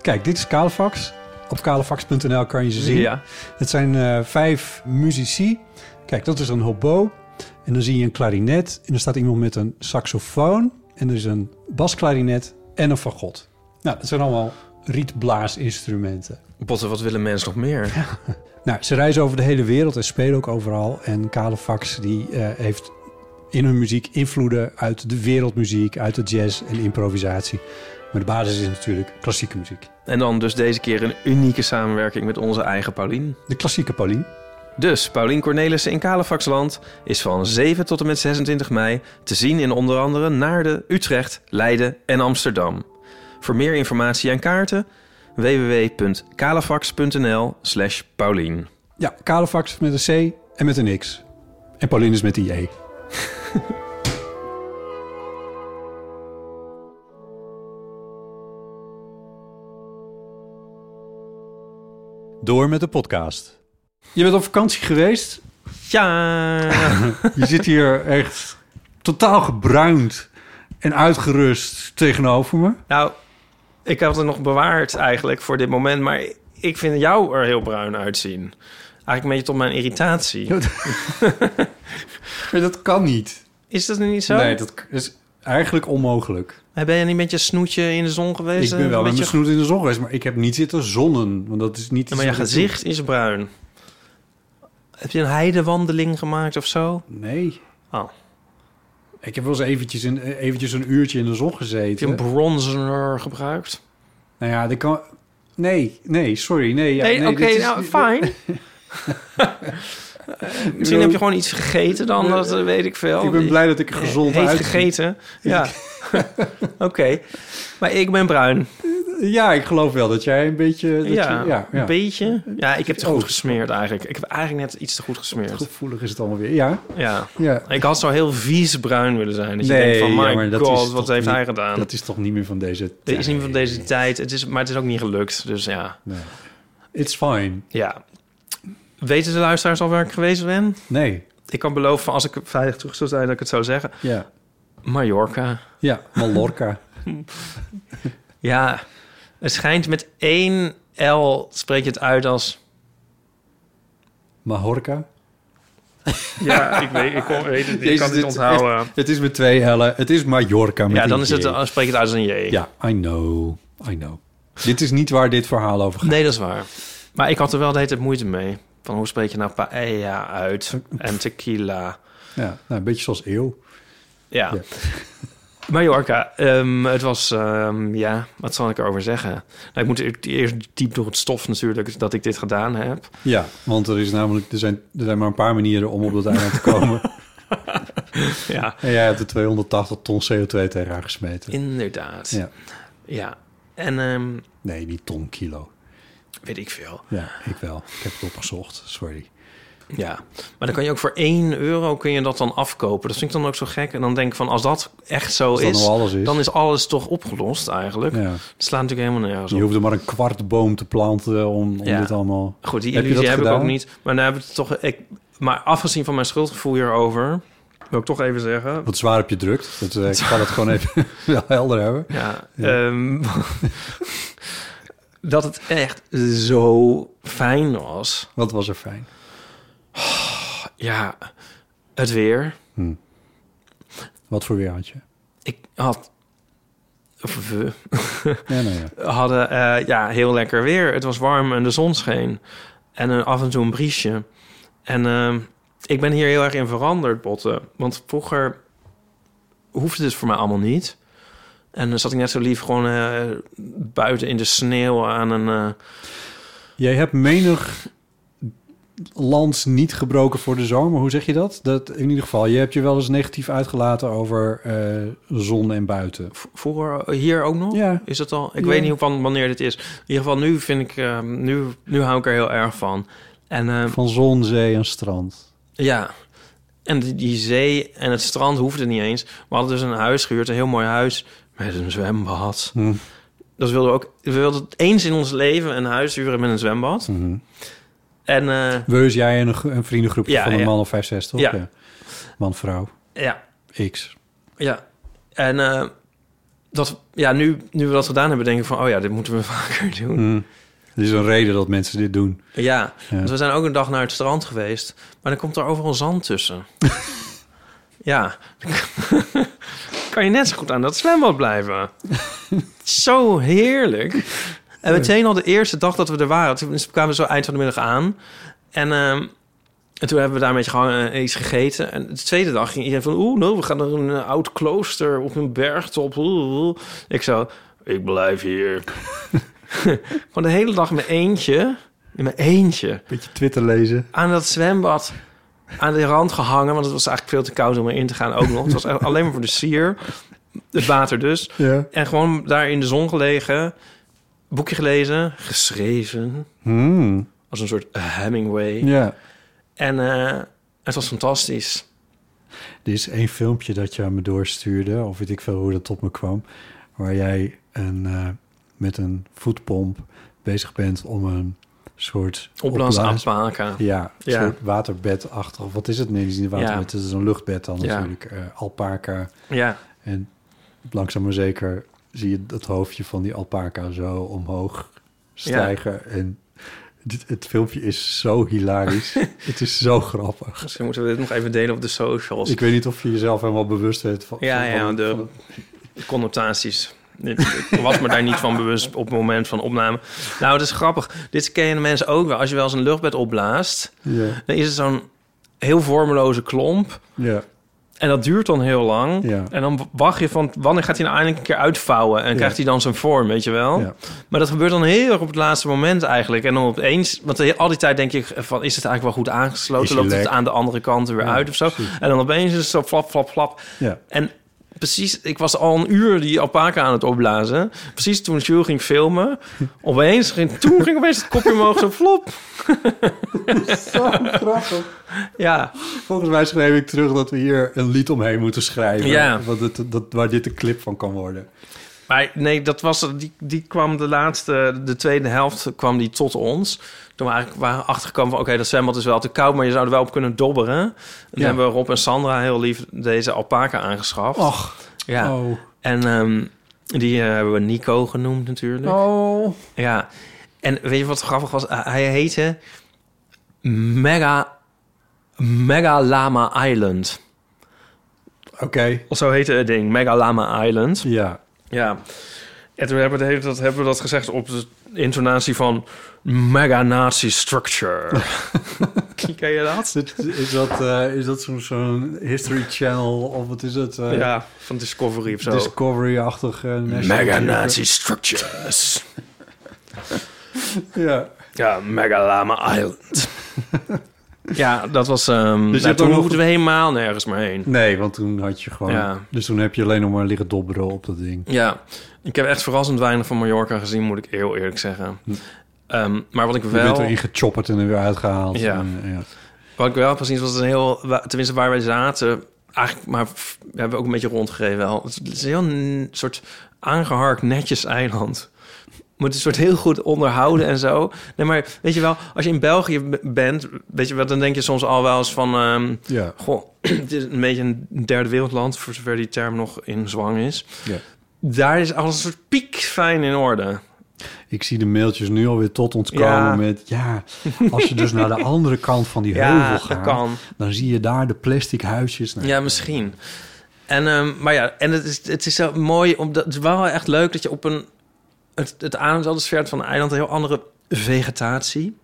S3: Kijk, dit is Kalefax. Op kalefax.nl kan je ze zien.
S2: Ja.
S3: Het zijn eh, vijf muzici. Kijk, dat is een hobo. En dan zie je een klarinet. En er staat iemand met een saxofoon. En er is een basklarinet en een fagot. Nou, dat zijn allemaal rietblaasinstrumenten.
S2: Botten, wat willen mensen nog meer?
S3: Nou, ze reizen over de hele wereld en spelen ook overal. En Kalefax die eh, heeft in hun muziek invloeden uit de wereldmuziek, uit de jazz en improvisatie. Maar de basis is natuurlijk klassieke muziek.
S2: En dan dus deze keer een unieke samenwerking met onze eigen Paulien.
S3: De klassieke Pauline.
S2: Dus Paulien Cornelissen in Kalefaxland is van 7 tot en met 26 mei te zien in onder andere Naarden, Utrecht, Leiden en Amsterdam. Voor meer informatie en kaarten www.kalefax.nl slash Paulien.
S3: Ja, Kalefax met een C en met een X. En Pauline is met die E. Door met de podcast. Je bent op vakantie geweest.
S2: Ja!
S3: Je zit hier echt totaal gebruind en uitgerust tegenover me.
S2: nou, ik had het nog bewaard eigenlijk voor dit moment, maar ik vind jou er heel bruin uitzien. Eigenlijk een beetje tot mijn irritatie.
S3: dat kan niet.
S2: Is dat niet zo?
S3: Nee, dat is eigenlijk onmogelijk.
S2: Ben je niet met je snoetje in de zon geweest? eh,
S3: ik ben wel
S2: Een
S3: met
S2: beetje
S3: mijn snoet in de zon geweest, maar ik heb niet zitten zonnen. Want dat is niet
S2: Ja, maar
S3: iets
S2: je
S3: wat ik
S2: gezicht is bruin. Heb je een heidewandeling gemaakt of zo?
S3: doe. Nee.
S2: Oh.
S3: Ik heb wel eens eventjes een, eh, eventjes een uurtje in de zon
S2: Heb je een
S3: gezeten.
S2: bronzer gebruikt?
S3: Nou ja, dat kan... Nee, nee, sorry. Nee, ja,
S2: nee, oké,
S3: dit is-
S2: nou, fijn. Misschien heb je gewoon iets gegeten dan, dat eh, weet ik veel.
S3: Ik ben blij dat ik er gezond
S2: gezond
S3: uit.
S2: gegeten, ja. oké, maar ik ben bruin.
S3: Ja, ik geloof wel dat jij een beetje... Dat
S2: ja,
S3: je, ja, ja.
S2: een beetje. Ja, ik heb te goed
S3: Oh.
S2: gesmeerd eigenlijk. Ik heb eigenlijk net iets te goed gesmeerd.
S3: Gevoelig is het allemaal weer. Ja,
S2: Ja.
S3: ja.
S2: Ik had zo heel vies bruin willen zijn. Dat je
S3: Nee,
S2: denkt van,
S3: ja, maar
S2: my
S3: dat is
S2: god,
S3: toch
S2: wat heeft
S3: niet-
S2: hij gedaan?
S3: Dat is toch niet meer van deze
S2: Dit is niet
S3: tijd?
S2: van deze tijd, het is, maar het is ook niet gelukt. Dus ja.
S3: Nee. It's fine.
S2: ja. Weten de luisteraars al waar ik geweest ben?
S3: Nee.
S2: Ik kan beloven, als ik veilig terug zou zijn, dat ik het zou zeggen.
S3: Ja.
S2: Mallorca.
S3: Ja, Mallorca.
S2: Ja, het schijnt met één L spreek je het uit als...
S3: Mahorca.
S2: Ja, ik weet, ik weet het
S3: Jezus, dit is echt- het is met twee hellen. Het is Mallorca. Met
S2: Ja,
S3: een
S2: dan is het,
S3: J.
S2: dan spreek je het uit als een J.
S3: Ja, I know. I know. dit is niet waar dit verhaal over gaat.
S2: Nee, dat is waar. Maar ik had er wel de hele tijd moeite mee. Van hoe spreek je nou paella uit en tequila...
S3: Ja, nou, een beetje zoals eeuw.
S2: Ja.
S3: Ja.
S2: Mallorca, ehm, het was, ehm, ja, wat zal ik erover zeggen? Nou, ik moet e- eerst diep door het stof natuurlijk dat ik dit gedaan heb.
S3: Ja, want er, is namelijk, er, zijn, er zijn maar een paar manieren om op dat eiland te komen.
S2: Ja,
S3: en jij hebt er 280 ton CO2 tegen haar gesmeten.
S2: inderdaad. Ja.
S3: Ja.
S2: En ehm,
S3: Nee, niet ton kilo.
S2: weet ik veel.
S3: Ja, ik wel. Ik heb het opgezocht. Sorry.
S2: Ja. Maar dan kan je ook voor 1 euro kun je dat dan afkopen. Dat vind ik dan ook zo gek. En dan denk ik van, als dat echt zo
S3: Als dat
S2: is,
S3: nou alles is.
S2: dan is alles toch opgelost eigenlijk.
S3: Ja.
S2: Dat slaat natuurlijk helemaal nergens
S3: Je
S2: op.
S3: hoefde maar een kwart boom te planten om, om
S2: Ja.
S3: dit allemaal...
S2: Goed, die
S3: Heb je
S2: illusie heb,
S3: dat
S2: ik
S3: gedaan?
S2: ook niet. Maar, dan heb ik toch, ik, maar afgezien van mijn schuldgevoel hierover, wil ik toch even zeggen...
S3: Wat zwaar op je drukt. Dat, eh, ik ga dat gewoon even wel helder hebben.
S2: Ja, ehm, dat het echt zo fijn was.
S3: Wat was er fijn.
S2: Ja, het weer.
S3: Hm. Wat voor weer had je?
S2: Ik had. of we
S3: Ja, nou ja.
S2: hadden eh, ja, heel lekker weer. Het was warm en de zon scheen. En een, af en toe een briesje. En ehm, ik ben hier heel erg in veranderd, Botten. Want vroeger hoefde het voor mij allemaal niet. En dan zat ik net zo lief gewoon eh, buiten in de sneeuw aan een... eh,
S3: Jij hebt menig lans niet gebroken voor de zomer. Hoe zeg je dat? dat in ieder geval, je hebt je wel eens negatief uitgelaten over eh, zon en buiten.
S2: V- Vroeger hier ook nog?
S3: Ja.
S2: Is dat al? Ik
S3: Ja.
S2: weet niet hoe- van wanneer dit is. In ieder geval nu vind ik, ehm, nu, nu hou ik er heel erg van. En ehm,
S3: Van zon, zee en strand.
S2: ja, en die, die zee en het strand hoefde niet eens. We hadden dus een huis gehuurd, een heel mooi huis met een zwembad.
S3: Hm.
S2: Dat wilden we ook. We wilden eens in ons leven een huis huren met een zwembad.
S3: Mhm.
S2: En eh,
S3: We is jij en een, gro- een vriendengroepje
S2: Ja,
S3: van een
S2: ja.
S3: man of vijf, zes, toch?
S2: Ja.
S3: Man, vrouw,
S2: ja,
S3: X.
S2: Ja, en eh, dat, ja, nu, nu we dat gedaan hebben, denk ik van... oh ja, dit moeten we vaker doen.
S3: Mm. Er is een reden dat mensen dit doen.
S2: Ja,
S3: Ja.
S2: want we zijn ook een dag naar het strand geweest... maar dan komt er overal zand tussen. ja, kan je net zo goed aan dat zwembad blijven. zo heerlijk. En meteen al de eerste dag dat we er waren... toen kwamen we zo eind van de middag aan... en... ehm, en toen hebben we daar een beetje gehangen en iets gegeten. En de tweede dag ging iedereen van... Oeh, nou, we gaan naar een eh, oud klooster op een bergtop. Oeh, oeh. Ik zo, ik blijf hier. Gewoon de hele dag in mijn eentje... in mijn eentje...
S3: Beetje Twitter lezen.
S2: aan dat zwembad... aan de rand gehangen. Want het was eigenlijk veel te koud om erin te gaan ook nog. Het was echt alleen maar voor de sier. Het water dus.
S3: Ja.
S2: En gewoon daar in de zon gelegen... boekje gelezen, geschreven...
S3: Mm.
S2: als een soort Hemingway.
S3: Ja.
S2: En eh, het was fantastisch...
S3: Er is één filmpje dat je aan me doorstuurde, of weet ik veel hoe dat op me kwam, waar jij een, eh, met een voetpomp bezig bent om een soort
S2: Opblaas
S3: opblaas-
S2: Apaka.
S3: Ja, een
S2: Ja.
S3: soort waterbedachtig. Wat is het? Nee, het is niet waterbed, het is een luchtbed dan
S2: Ja.
S3: natuurlijk. eh alpaca.
S2: Ja,
S3: En langzaam maar zeker zie je het hoofdje van die alpaca zo omhoog stijgen. En dit, het filmpje is zo hilarisch. het is zo grappig.
S2: misschien moeten we dit nog even delen op de socials.
S3: Ik weet niet of je jezelf helemaal bewust bent van...
S2: ja,
S3: van-
S2: ja,
S3: van-
S2: de connotaties. Ik ik was me daar niet van bewust op het moment van opname. Nou, het is grappig. Dit kennen mensen ook wel. Als je wel eens een luchtbed opblaast,
S3: Ja,
S2: dan is het zo'n heel vormeloze klomp.
S3: ja.
S2: En dat duurt dan heel lang.
S3: Ja.
S2: En dan wacht je van wanneer gaat hij nou eindelijk een keer uitvouwen en
S3: Ja.
S2: krijgt hij dan zijn vorm, weet je wel?
S3: Ja.
S2: Maar dat gebeurt dan heel erg op het laatste moment eigenlijk. En dan opeens, want de- al die tijd denk je van is het eigenlijk wel goed
S3: Is
S2: aangesloten?
S3: je
S2: Loopt het
S3: lek?
S2: aan de andere kant er weer
S3: Ja,
S2: uit of zo?
S3: precies.
S2: En dan opeens is het zo flap, flap, flap.
S3: ja.
S2: En precies, ik was al een uur die alpaca aan het opblazen. Precies toen Jules ging filmen, opeens ging, toen ging opeens het kopje omhoog zo flop.
S3: Zo grappig.
S2: Ja,
S3: Volgens mij schreef ik terug dat we hier een lied omheen moeten schrijven.
S2: Ja.
S3: Want het, dat, waar dit een clip van kan worden.
S2: maar nee, dat was, die, die kwam de laatste, de tweede helft kwam die tot ons. Toen we eigenlijk waren achtergekomen van, oké, dat zwembad is wel te koud, maar je zou er wel op kunnen dobberen. En toen
S3: Ja.
S2: hebben Rob en Sandra heel lief deze alpaca aangeschaft.
S3: Och.
S2: ja.
S3: Oh.
S2: En ehm, die eh, hebben we Nico genoemd natuurlijk.
S3: Oh.
S2: Ja, en weet je wat grappig was? Uh, hij heette Mega, Mega Lama Island.
S3: Oké.
S2: Of zo heette het ding, Mega Lama Island.
S3: Ja.
S2: Ja. En toen hebben we, de hele tijd- hebben we dat gezegd op de intonatie van Mega Nazi Structure. Ken je dat?
S3: Is, is dat, eh, is dat zo'n zo'n History Channel of wat is het? eh,
S2: Ja, van Discovery of zo.
S3: Discovery-achtig. eh, National
S2: Mega
S3: Geographic?
S2: Nazi Structures.
S3: Ja.
S2: Ja, Mega Lama Island. ja, dat was... ehm nou,
S3: hebt ook
S2: toen
S3: nog-
S2: hoefden we helemaal nergens meer heen.
S3: Nee, want toen had je gewoon...
S2: Ja.
S3: Dus toen heb je alleen nog maar liggen dobberen op dat ding.
S2: Ja, ik heb echt verrassend weinig van Mallorca gezien, moet ik heel eerlijk zeggen. Ehm, maar wat ik
S3: Hm. Je bent
S2: wel,
S3: erin gechopperd en er weer uitgehaald.
S2: Ja.
S3: En, ja.
S2: wat ik wel heb gezien, was een heel, wa- tenminste waar wij zaten, eigenlijk, maar f- we hebben ook een beetje rondgereden wel. Het is een heel n- soort aangeharkt netjes eiland. Moet een soort heel goed onderhouden en zo. Nee, maar weet je wel, als je in België b- bent, weet je wel, dan denk je soms al wel eens van, ehm,
S3: ja.
S2: goh, het is een beetje een derde wereldland, voor zover die term nog in zwang is.
S3: Ja.
S2: Daar is alles een soort piek fijn in orde.
S3: Ik zie de mailtjes nu alweer tot ons komen
S2: Ja.
S3: met... Ja, als je dus naar de andere kant van die heuvel
S2: dat
S3: gaat...
S2: kan.
S3: dan zie je daar de plastic huisjes. Nou,
S2: Ja, misschien. En, ehm, maar ja, en het is, het is zo mooi, omdat het is wel heel erg leuk dat je op een. Het, het aanzaldersveld van een eiland een heel andere vegetatie.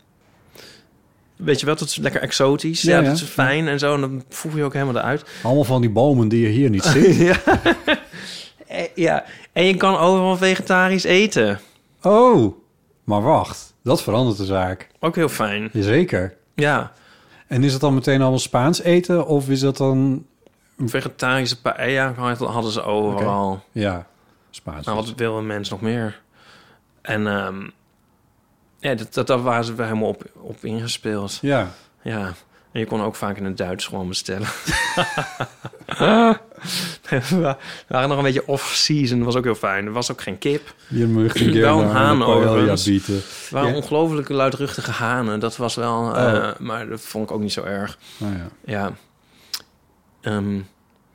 S2: Weet je wel, dat is lekker exotisch.
S3: Ja,
S2: Ja,
S3: ja.
S2: dat is fijn en zo. En dan voeg je ook helemaal eruit.
S3: Allemaal van die bomen die je hier niet ziet.
S2: Eh, ja, en je kan overal vegetarisch eten.
S3: oh, maar wacht. Dat verandert de zaak.
S2: Ook heel fijn.
S3: Jazeker.
S2: Ja,
S3: En is dat dan meteen allemaal Spaans eten? Of is dat dan...
S2: vegetarische eh, paella hadden ze overal.
S3: Ja, Spaans.
S2: Nou, wat wil een mens nog meer? En ehm, ja, dat, dat, daar waren ze wel helemaal op, op ingespeeld.
S3: Ja,
S2: Ja. En je kon ook vaak in het Duits gewoon bestellen. We waren nog een beetje off-season. Dat was ook heel fijn. Er was ook geen kip.
S3: Je mag een keer
S2: Wel een
S3: naar
S2: haan
S3: de paella
S2: overigens.
S3: bieten.
S2: Er waren
S3: Ja.
S2: ongelooflijk luidruchtige hanen. Dat was wel... eh, maar dat vond ik ook niet zo erg.
S3: Nou ja.
S2: Ja. Ehm,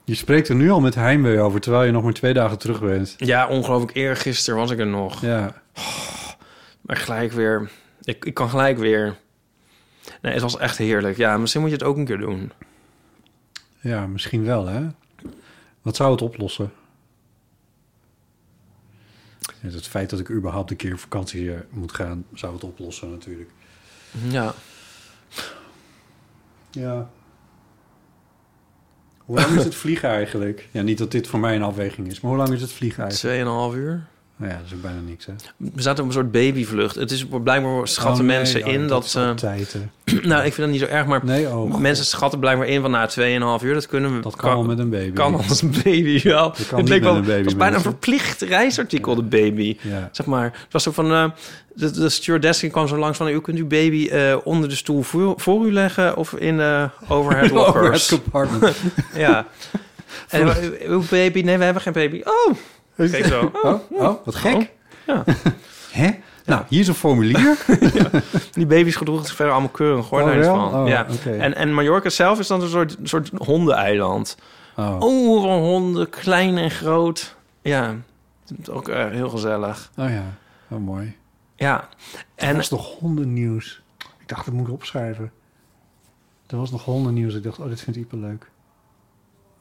S3: Je spreekt er nu al met heimwee over, terwijl je nog maar twee dagen terug bent.
S2: ja, ongelooflijk eergisteren was ik er nog.
S3: Ja,
S2: Maar gelijk weer... Ik, ik kan gelijk weer... Nee, het was echt heerlijk. Ja, misschien moet je het ook een keer doen.
S3: ja misschien wel, hè? Wat zou het oplossen? Net Het feit dat ik überhaupt een keer op vakantie eh, moet gaan, zou het oplossen natuurlijk.
S2: Ja.
S3: Ja. Hoe lang is het vliegen eigenlijk? Ja, niet dat dit voor mij een afweging is, maar hoe lang is het vliegen eigenlijk?
S2: Tweeënhalf uur.
S3: Nou ja, dat is ook bijna niks, hè?
S2: We zaten op een soort babyvlucht. Het is blijkbaar schatten
S3: Oh, nee,
S2: mensen
S3: oh,
S2: in dat,
S3: is
S2: ze...
S3: altijd, hè.
S2: nou, ik vind dat niet zo erg, maar
S3: Nee, oh,
S2: mensen schatten blijkbaar in van na 2,5 uur. Dat kunnen we.
S3: dat kan wel met een baby.
S2: kan als een baby wel.
S3: kan
S2: het
S3: niet
S2: bleek
S3: met
S2: wel,
S3: een baby,
S2: het was bijna een
S3: mensen.
S2: verplicht reisartikel, de baby.
S3: Ja. Oh,
S2: Zeg maar, het was zo van... eh, de, de stewardess die kwam zo langs van... U kunt uw baby eh, onder de stoel voor, voor u leggen... of in de overhead
S3: Over het
S2: lockers.
S3: compartment.
S2: ja. En eh, uw baby... Nee, we hebben geen baby. Oh! Kijk zo.
S3: Oh, oh, wat gek.
S2: Oh, ja.
S3: Hè? Nou, hier is een formulier.
S2: Die baby's gedroegen zich verder allemaal keurig. Hoor
S3: Oh,
S2: daar eens
S3: wel?
S2: van.
S3: Oh,
S2: ja.
S3: oké.
S2: en, en Mallorca zelf is dan een soort, soort hondeneiland.
S3: Oh.
S2: Overal honden, klein en groot. Ja, ook eh, heel gezellig.
S3: Oh ja, oh, mooi.
S2: Ja,
S3: Er
S2: en nou,
S3: was nog hondennieuws. Ik dacht, dat moet ik opschrijven. Er was nog hondennieuws. Ik dacht, oh, dit vindt Ipe leuk.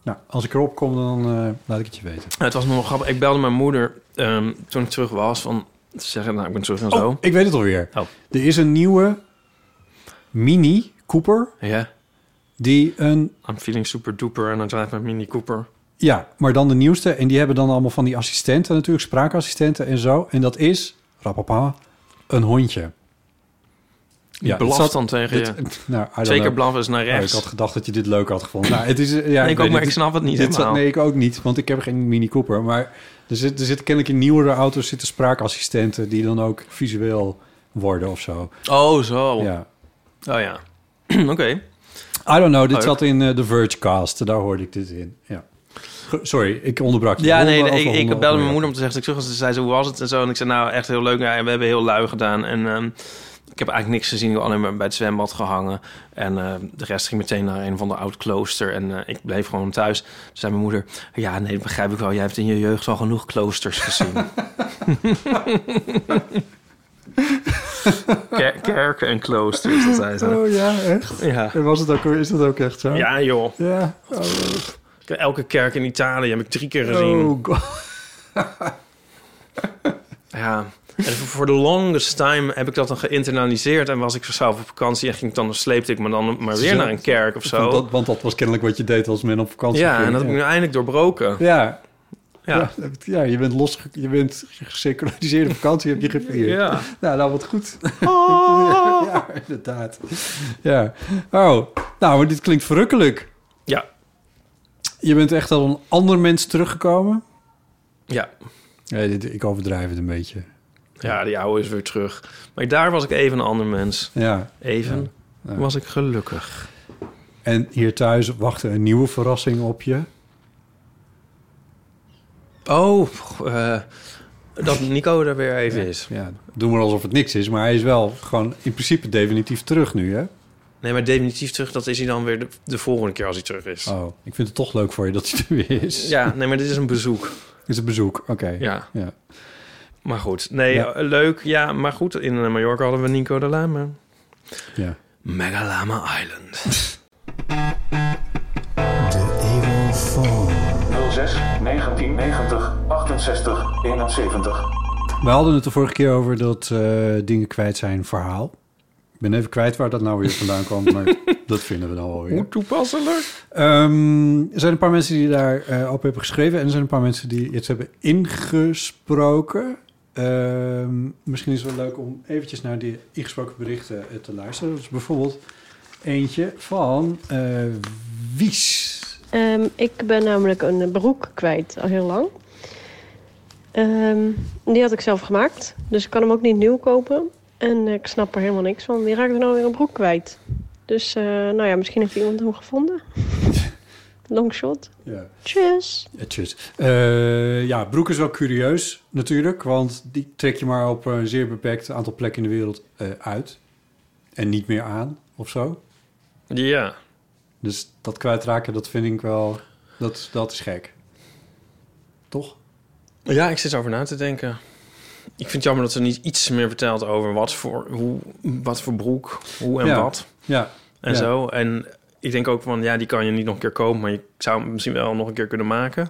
S3: Nou, als ik erop kom, dan eh, laat ik het je weten.
S2: het was nog wel grappig. Ik belde mijn moeder ehm, toen ik terug was. Van, ze zeggen, nou, ik ben terug en zo.
S3: ik weet het alweer.
S2: Oh.
S3: Er is een nieuwe Mini Cooper
S2: Ja,
S3: die een...
S2: I'm feeling super duper. En dan drive met Mini Cooper.
S3: Ja, maar dan de nieuwste. En die hebben dan allemaal van die assistenten natuurlijk, spraakassistenten en zo. En dat is, rapapa, een hondje.
S2: Die ja,
S3: het zat-
S2: dan tegen je.
S3: dit- nou, I don't
S2: Zeker
S3: know.
S2: blaffen is naar
S3: Oh,
S2: rechts.
S3: ik had gedacht dat je dit leuk had gevonden. Nou, het is, ja,
S2: nee, ik
S3: weet
S2: ook, maar
S3: het.
S2: ik snap het niet
S3: Dit zat-
S2: helemaal.
S3: nee, ik ook niet, want ik heb geen Mini Cooper. Maar er zitten er zit kennelijk in nieuwere auto's zitten spraakassistenten... die dan ook visueel worden of zo.
S2: Oh, zo.
S3: Ja.
S2: Oh ja. Oké.
S3: I don't know, dit
S2: Leuk.
S3: zat in eh, de Vergecast. Daar hoorde ik dit in. Ja. Ge- Sorry, ik onderbrak je.
S2: Ja, nee,
S3: Honden
S2: ik,
S3: over
S2: ik
S3: honden
S2: belde mijn
S3: onderwerpen.
S2: moeder om te zeggen dat ik terug was. Ze zei, zo, hoe was het en zo? En ik zei, nou, echt heel leuk. Ja, en we hebben heel lui gedaan. En ehm, ik heb eigenlijk niks gezien. Ik heb alleen maar bij het zwembad gehangen. En ehm, de rest ging meteen naar een van de oud klooster. En eh, ik bleef gewoon thuis. Toen zei mijn moeder, ja, nee, dat begrijp ik wel. Jij hebt in je jeugd al genoeg kloosters gezien. Ker- Kerken en kloosters, dat zei ze.
S3: Oh ja, echt?
S2: Ja,
S3: En Was het ook, is dat ook echt zo?
S2: ja joh.
S3: Ja.
S2: Elke kerk in Italië heb ik drie keer gezien.
S3: Oh, god.
S2: Ja, en voor voor de longest time heb ik dat dan geïnternaliseerd. En was ik zelf op vakantie en ging ik dan, sleepte ik me dan maar weer
S3: Zo.
S2: naar een kerk of
S3: Want,
S2: zo.
S3: dat, want dat was kennelijk wat je deed als men op vakantie
S2: Ja,
S3: ging.
S2: en dat heb ik nu eindelijk doorbroken.
S3: Ja.
S2: Ja.
S3: Ja. ja, je bent los, je bent geseculariseerde vakantie, heb je gevierd.
S2: Ja. Oh.
S3: Nou, nou wat goed. ja, inderdaad. Ja. Oh, nou, maar dit klinkt verrukkelijk.
S2: Ja,
S3: Je bent echt al een ander mens teruggekomen.
S2: ja,
S3: Nee, dit, ik overdrijf het een beetje.
S2: ja, die oude is weer terug. Maar daar was ik even een ander mens.
S3: Ja.
S2: Even
S3: Ja.
S2: was ik gelukkig.
S3: En hier thuis wachtte een nieuwe verrassing op je.
S2: Oh, eh, dat Nico er weer even is.
S3: Ja, doe maar alsof het niks is, maar hij is wel gewoon in principe definitief terug nu, hè?
S2: Nee, maar definitief terug, dat is hij dan weer de, de volgende keer als hij terug is.
S3: Oh, ik vind het toch leuk voor je dat hij er weer is.
S2: Ja, nee, maar dit is een bezoek.
S3: Is een bezoek, oké.
S2: Ja,
S3: ja.
S2: maar goed. Nee,
S3: Ja.
S2: eh, leuk. Ja, maar goed. In eh, Mallorca hadden we Nico de Lama.
S3: ja.
S2: Megalama Island.
S4: 06 1990 68 71.
S3: We hadden het de vorige keer over dat eh, dingen kwijt zijn verhaal. Ik ben even kwijt waar dat nou weer vandaan kwam, maar dat vinden we dan wel weer.
S2: toepasselijk.
S3: Ehm, er zijn een paar mensen die daar eh op hebben geschreven en er zijn een paar mensen die het hebben ingesproken. Ehm, misschien is het wel leuk om eventjes naar die ingesproken berichten eh, te luisteren. Dus bijvoorbeeld eentje van eh, Wies.
S5: Ehm, ik ben namelijk een broek kwijt al heel lang. Ehm, die had ik zelf gemaakt, dus ik kan hem ook niet nieuw kopen. En ik snap er helemaal niks van. Wie raakt er nou weer een broek kwijt? Dus eh, nou ja, misschien heeft iemand hem gevonden. Longshot.
S3: Ja.
S5: Tjus.
S3: Ja, tjus. Eh, ja, Broek is wel curieus natuurlijk, want die trek je maar op een zeer beperkt aantal plekken in de wereld eh, uit. En niet meer aan of zo.
S2: Ja.
S3: Dus dat kwijtraken, dat vind ik wel, dat, dat is gek. Toch?
S2: Ja, ik zit over na te denken. Ik vind het jammer dat ze niet iets meer vertelt over wat voor, hoe, wat voor broek, hoe en
S3: Ja.
S2: wat
S3: Ja.
S2: en
S3: Ja.
S2: zo. En ik denk ook van, ja, die kan je niet nog een keer kopen, maar je zou hem misschien wel nog een keer kunnen maken.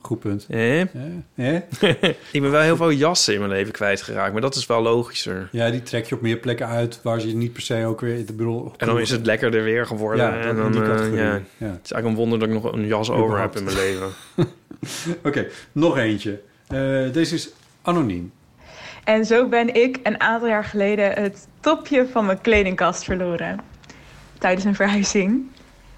S3: Goed punt.
S2: Eh?
S3: Ja. Ja.
S2: Ik ben wel heel veel jassen in mijn leven kwijtgeraakt, maar dat is wel logischer.
S3: ja, die trek je op meer plekken uit waar ze je niet per se ook weer... Ik bedoel,
S2: En dan is het lekkerder weer geworden.
S3: Ja,
S2: en
S3: dan
S2: dan,
S3: in die
S2: eh,
S3: categorie.
S2: ja.
S3: Ja.
S2: Het is eigenlijk een wonder dat ik nog een jas over heb
S3: Überhaupt.
S2: in mijn leven.
S3: Oké, nog eentje. Eh, deze is anoniem.
S6: En zo ben ik een aantal jaar geleden het topje van mijn kledingkast verloren. Tijdens een verhuizing.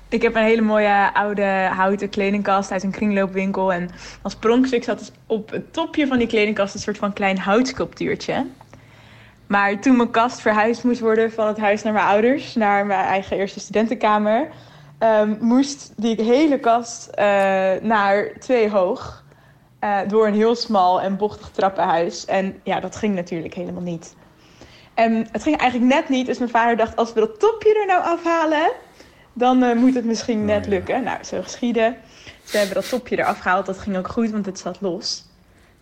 S6: Ik heb een hele mooie oude houten kledingkast uit een kringloopwinkel. En als pronkstuk zat dus op het topje van die kledingkast een soort van klein houtsculptuurtje. Maar toen mijn kast verhuisd moest worden van het huis naar mijn ouders, naar mijn eigen eerste studentenkamer, ehm, moest die hele kast eh, naar twee hoog. Eh, door een heel smal en bochtig trappenhuis. En ja, dat ging natuurlijk helemaal niet. En het ging eigenlijk net niet, dus mijn vader dacht: als we dat topje er nou afhalen, dan eh, moet het misschien
S3: Nou
S6: net
S3: ja.
S6: lukken. Nou, zo geschieden. Ze hebben dat topje eraf gehaald, dat ging ook goed, want het zat los.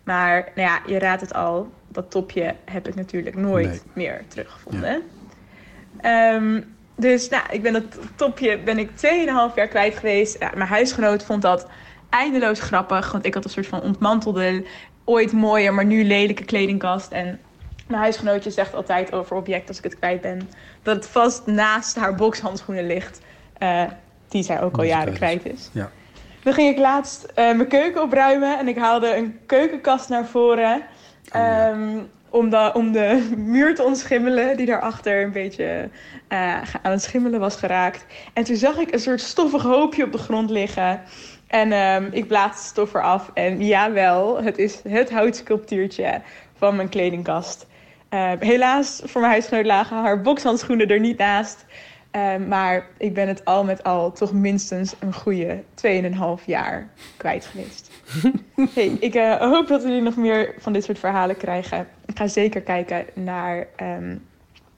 S6: Maar nou ja, je raadt het al, dat topje heb ik natuurlijk nooit
S3: Nee.
S6: meer teruggevonden. Ehm, dus nou, ik ben dat topje ben ik 2,5 jaar kwijt geweest. Ja, mijn huisgenoot vond dat eindeloos grappig. Want ik had een soort van ontmantelde, ooit mooie, maar nu lelijke kledingkast. En mijn huisgenootje zegt altijd over object als ik het kwijt ben. Dat het vast naast haar bokshandschoenen ligt. eh, die zij ook al
S3: Die ze
S6: jaren
S3: kwijt is.
S6: kwijt is.
S3: Ja.
S6: Dan ging ik laatst eh, mijn keuken opruimen. En ik haalde een keukenkast naar voren.
S3: ja.
S6: ehm, om, de, om de muur te ontschimmelen. Die daarachter een beetje eh, aan het schimmelen was geraakt. En toen zag ik een soort stoffig hoopje op de grond liggen. En ehm, ik blaas de stof eraf. En jawel, het is het houtsculptuurtje van mijn kledingkast. Ehm, helaas, voor mijn huisgenoot lagen haar bokshandschoenen er niet naast. Ehm, maar ik ben het al met al toch minstens een goede 2,5 jaar kwijt geweest. hey, ik eh, hoop dat jullie nog meer van dit soort verhalen krijgen. Ik ga zeker kijken naar ehm,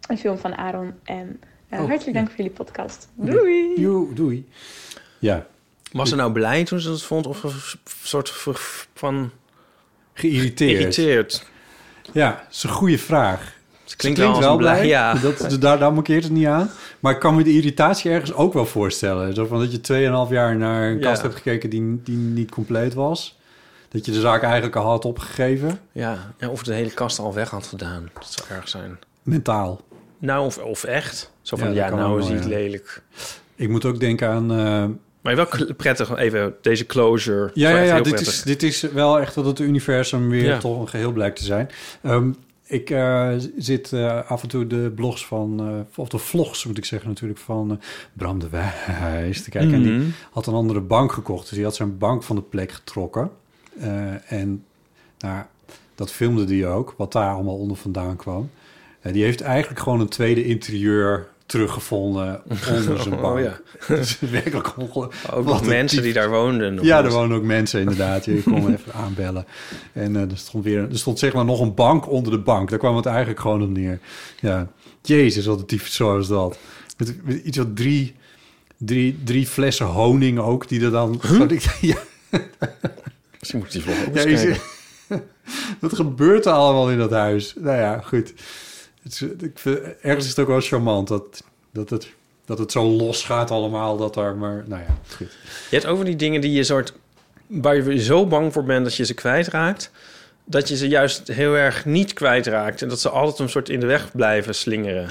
S6: een film van Aaron. En eh,
S3: Oh,
S6: hartelijk
S3: ja.
S6: dank voor jullie podcast. Doei!
S3: Joe, doei. Ja,
S2: Was ze nou blij toen ze dat vond of een soort van
S3: geïrriteerd.
S2: geïrriteerd?
S3: Ja, dat is een goede vraag.
S2: Ze klinkt,
S3: Klinkt,
S2: wel, als
S3: wel
S2: een blij.
S3: blij,
S2: Ja.
S3: dat, dus daar, daar mankeert het niet aan. Maar ik kan me de irritatie ergens ook wel voorstellen. Zo van dat je 2,5 jaar naar een
S2: Ja.
S3: kast hebt gekeken die, die niet compleet was. Dat je de zaak eigenlijk al had opgegeven.
S2: Ja. ja, of de hele kast al weg had gedaan. Dat zou erg zijn.
S3: Mentaal.
S2: Nou, of, of echt. Zo van,
S3: Ja, dat
S2: ja,
S3: kan
S2: nou
S3: ook
S2: is
S3: wel,
S2: het
S3: ja.
S2: lelijk.
S3: Ik moet ook denken aan... eh,
S2: Maar wel kle- prettig, even deze closure.
S3: Ja,
S2: Zo
S3: ja,
S2: echt
S3: ja
S2: heel
S3: dit,
S2: prettig.
S3: is, dit is wel echt dat het universum weer
S2: Ja.
S3: toch een geheel blijkt te zijn. Ehm, ik eh, z- zit eh, af en toe de blogs van, eh, of de vlogs moet ik zeggen natuurlijk, van eh, Bram de Wijs te kijken.
S2: Hmm.
S3: En die had een andere bank gekocht, dus die had zijn bank van de plek getrokken. Eh, en nou, dat filmde die ook, wat daar allemaal onder vandaan kwam. Eh, die heeft eigenlijk gewoon een tweede interieur teruggevonden onder zijn
S2: Oh,
S3: bank.
S2: ja.
S3: Dat is werkelijk ongelooflijk.
S2: Ook nog mensen die daar woonden. nog
S3: Ja,
S2: eens.
S3: er wonen ook mensen inderdaad. Je kon even aanbellen. En eh, er stond weer, er stond zeg maar nog een bank onder de bank. Daar kwam het eigenlijk gewoon op neer. Ja, jezus, wat een tyfus is dat. Met, met iets wat drie, drie, drie flessen honing ook, die er dan... Ja,
S2: Misschien moet ik die vlog ook
S3: ja,
S2: eens
S3: je
S2: kijken.
S3: ziet- dat gebeurt er allemaal in dat huis. Nou ja, goed. Het is- ik vind- ergens is het ook wel charmant dat, dat, het, dat het zo los gaat allemaal. Dat er maar, nou ja, goed.
S2: Je hebt over die dingen die je soort... waar je zo bang voor bent dat je ze kwijtraakt... dat je ze juist heel erg niet kwijtraakt... en dat ze altijd een soort in de weg blijven slingeren.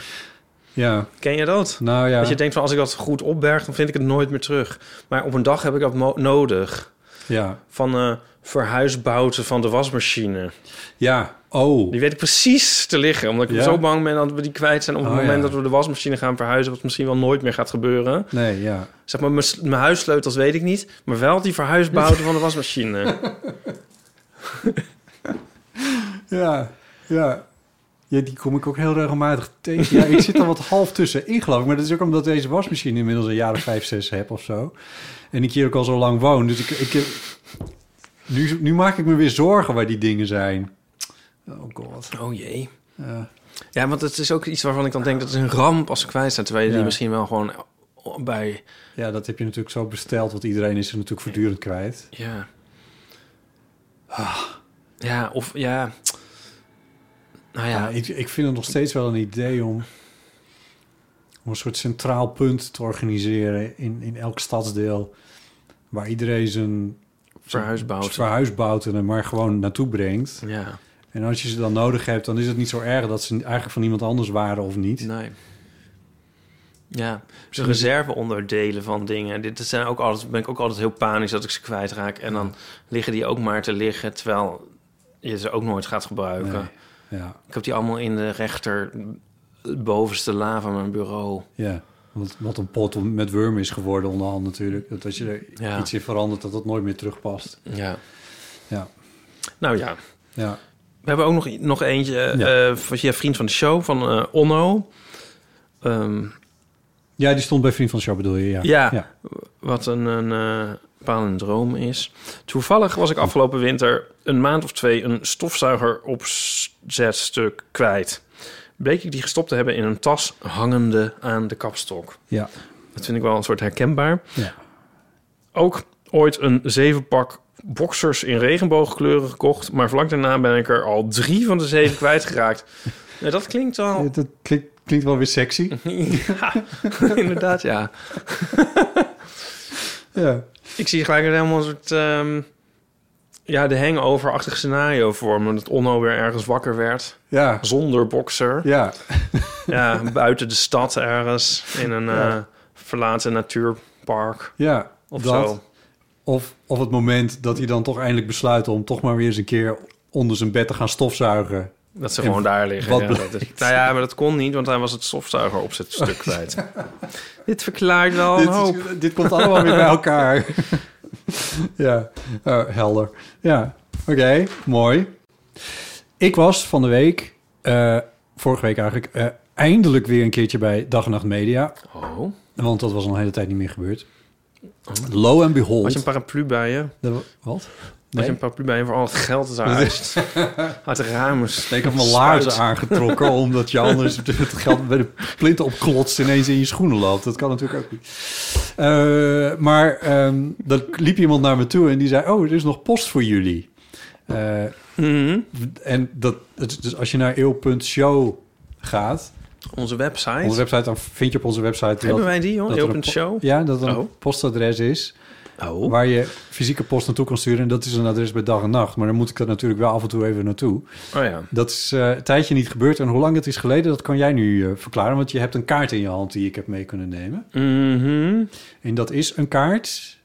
S3: Ja,
S2: Ken je dat?
S3: nou ja.
S2: Dat je denkt van, als ik dat goed opberg, dan vind ik het nooit meer terug. Maar op een dag heb ik dat mo- nodig.
S3: ja.
S2: Van eh verhuisbouten van de wasmachine.
S3: Ja, oh.
S2: Die weet ik precies te liggen. Omdat ik
S3: Ja?
S2: zo bang ben dat we die kwijt zijn... op het
S3: Oh,
S2: moment
S3: ja.
S2: dat we de wasmachine gaan verhuizen... wat misschien wel nooit meer gaat gebeuren.
S3: Nee, ja.
S2: Zeg maar, mijn s- mijn huissleutels weet ik niet... maar wel die verhuisbouten van de wasmachine.
S3: Ja, ja. Ja, die kom ik ook heel regelmatig tegen. Ja, ik zit er wat half tussenin, geloof ik. Maar dat is ook omdat deze wasmachine inmiddels een jaar of vijf, zes heb of zo. En ik hier ook al zo lang woon. Dus ik, ik, heb- nu, nu maak ik me weer zorgen waar die dingen zijn. Oh god.
S2: Oh jee.
S3: Ja.
S2: Ja, want het is ook iets waarvan ik dan denk dat is een ramp als ze kwijt zijn. Terwijl je
S3: Ja.
S2: die misschien wel gewoon eh, bij.
S3: ja, dat heb je natuurlijk zo besteld. Want iedereen is er natuurlijk voortdurend kwijt.
S2: Ja.
S3: Ah.
S2: Ja, of ja. Nou ja,
S3: Ja, ik, ik vind het nog steeds wel een idee om, om een soort centraal punt te organiseren in, in elk stadsdeel. Waar iedereen zijn
S2: verhuis bouwt.
S3: verhuis bouwt en er maar gewoon naartoe brengt.
S2: Ja,
S3: En als je ze dan nodig hebt, dan is het niet zo erg dat ze eigenlijk van iemand anders waren of niet.
S2: nee. Ja, de reserveonderdelen van dingen. Dit zijn ook altijd, ben ik ook altijd heel panisch dat ik ze kwijtraak. En dan liggen die ook maar te liggen, terwijl je ze ook nooit gaat gebruiken.
S3: Ja,
S2: Ik heb die allemaal in de rechter eh, bovenste la van mijn bureau.
S3: ja. Want wat een pot om- met worm is geworden onderhand natuurlijk. Dat als je er
S2: Ja.
S3: iets in verandert, dat dat nooit meer terugpast.
S2: Ja.
S3: Ja,
S2: Nou ja,
S3: ja.
S2: We hebben ook nog, nog eentje eh,
S3: Ja.
S2: eh, van via vriend van de show, van eh, Onno. Ehm,
S3: ja die stond bij Vriend van de Show bedoel je? Ja.
S2: Ja.
S3: ja.
S2: wat een, een eh palindroom is. Toevallig was ik afgelopen winter een maand of twee een stofzuiger opzetstuk kwijt. Bleek ik die gestopt te hebben in een tas hangende aan de kapstok.
S3: ja.
S2: Dat vind ik wel een soort herkenbaar.
S3: Ja.
S2: Ook ooit een zevenpak boxers in regenboogkleuren gekocht. Maar vlak daarna ben ik er al drie van de zeven kwijtgeraakt. Nou, dat klinkt al...
S3: Dat klinkt, klinkt wel weer sexy.
S2: Ja, inderdaad, ja.
S3: Ja.
S2: Ik zie gelijk een helemaal een soort... ehm, ja, de hangover-achtig scenario voor me. Dat Onno weer ergens wakker werd.
S3: Ja.
S2: Zonder bokser.
S3: Ja.
S2: Ja, buiten de stad ergens. In een
S3: Ja.
S2: eh, verlaten natuurpark
S3: Ja.
S2: of
S3: dat.
S2: zo.
S3: Of, of het moment dat hij dan toch eindelijk besluit om toch maar weer eens een keer onder zijn bed te gaan stofzuigen.
S2: Dat ze
S3: En
S2: gewoon daar liggen.
S3: wat
S2: ja, dat is, nou ja, maar dat kon niet, want hij was het stofzuiger opzetstuk kwijt. Dit verklaart wel Oh, een hoop.
S3: dit, dit komt allemaal weer bij elkaar. ja, eh, helder. Ja, oké, mooi. Ik was van de week, eh, vorige week eigenlijk, eh, eindelijk weer een keertje bij Dag en Nacht Media.
S2: Oh,
S3: Want dat was al een hele tijd niet meer gebeurd. Lo and behold.
S2: had Oh. je een paraplu bij je? Had
S3: de, wat?
S2: je een paraplu bij je voor al het geld dat eruit uit de ramen
S3: Ik heb mijn laarzen
S2: spuit?
S3: aangetrokken omdat je anders het geld bij de plinten opklotst ineens in je schoenen loopt. Dat kan natuurlijk ook niet. Eh, maar ehm dan liep iemand naar me toe en die zei: Oh, er is nog post voor jullie. Eh,
S2: Mhm.
S3: en dat, het- dus als je naar eeuw.show gaat,
S2: Onze website.
S3: onze website, dan vind je op onze website.
S2: Hebben wij die, joh?
S3: dat er een
S2: Open
S3: po-
S2: show?
S3: Ja, dat er een
S2: Oh.
S3: postadres is
S2: Oh.
S3: waar je fysieke post naartoe kan sturen. En dat is een adres bij dag en nacht. Maar dan moet ik dat natuurlijk wel af en toe even naartoe.
S2: oh ja.
S3: Dat is eh, een tijdje niet gebeurd. En hoe lang het is geleden, dat kan jij nu eh, verklaren. Want je hebt een kaart in je hand die ik heb mee kunnen nemen.
S2: Mhm.
S3: En dat is een kaart.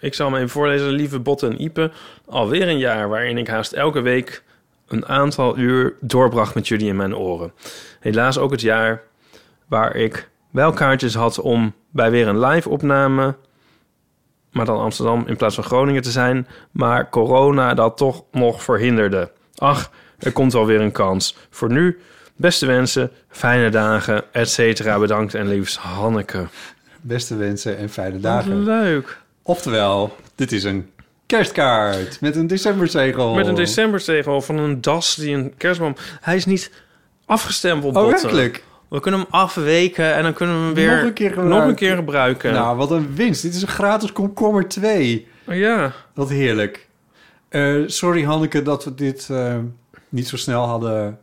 S2: Ik zal me even voorlezen, lieve Botten en Ipe. Alweer een jaar waarin ik haast elke week een aantal uur doorbracht met jullie in mijn oren. Helaas ook het jaar waar ik wel kaartjes had om bij weer een live opname, maar dan Amsterdam in plaats van Groningen te zijn, maar corona dat toch nog verhinderde. Ach, er komt alweer een kans. Voor nu, beste wensen, fijne dagen, et cetera. Bedankt en liefst Hanneke.
S3: Beste wensen en fijne
S2: Wat
S3: dagen.
S2: leuk.
S3: Oftewel, dit is een kerstkaart met een decemberzegel.
S2: Met een decemberstegel van een das die een kerstboom... Hij is niet afgestempeld,
S3: Oh,
S2: Botte.
S3: werkelijk?
S2: eh, We kunnen hem afweken en dan kunnen we hem weer
S3: Nog een keer gebruiken.
S2: nog een keer gebruiken.
S3: Nou, wat een winst. Dit is een gratis komkommer 2.
S2: Oh, Ja,
S3: Wat heerlijk. Eh, sorry Hanneke dat we dit eh, niet zo snel hadden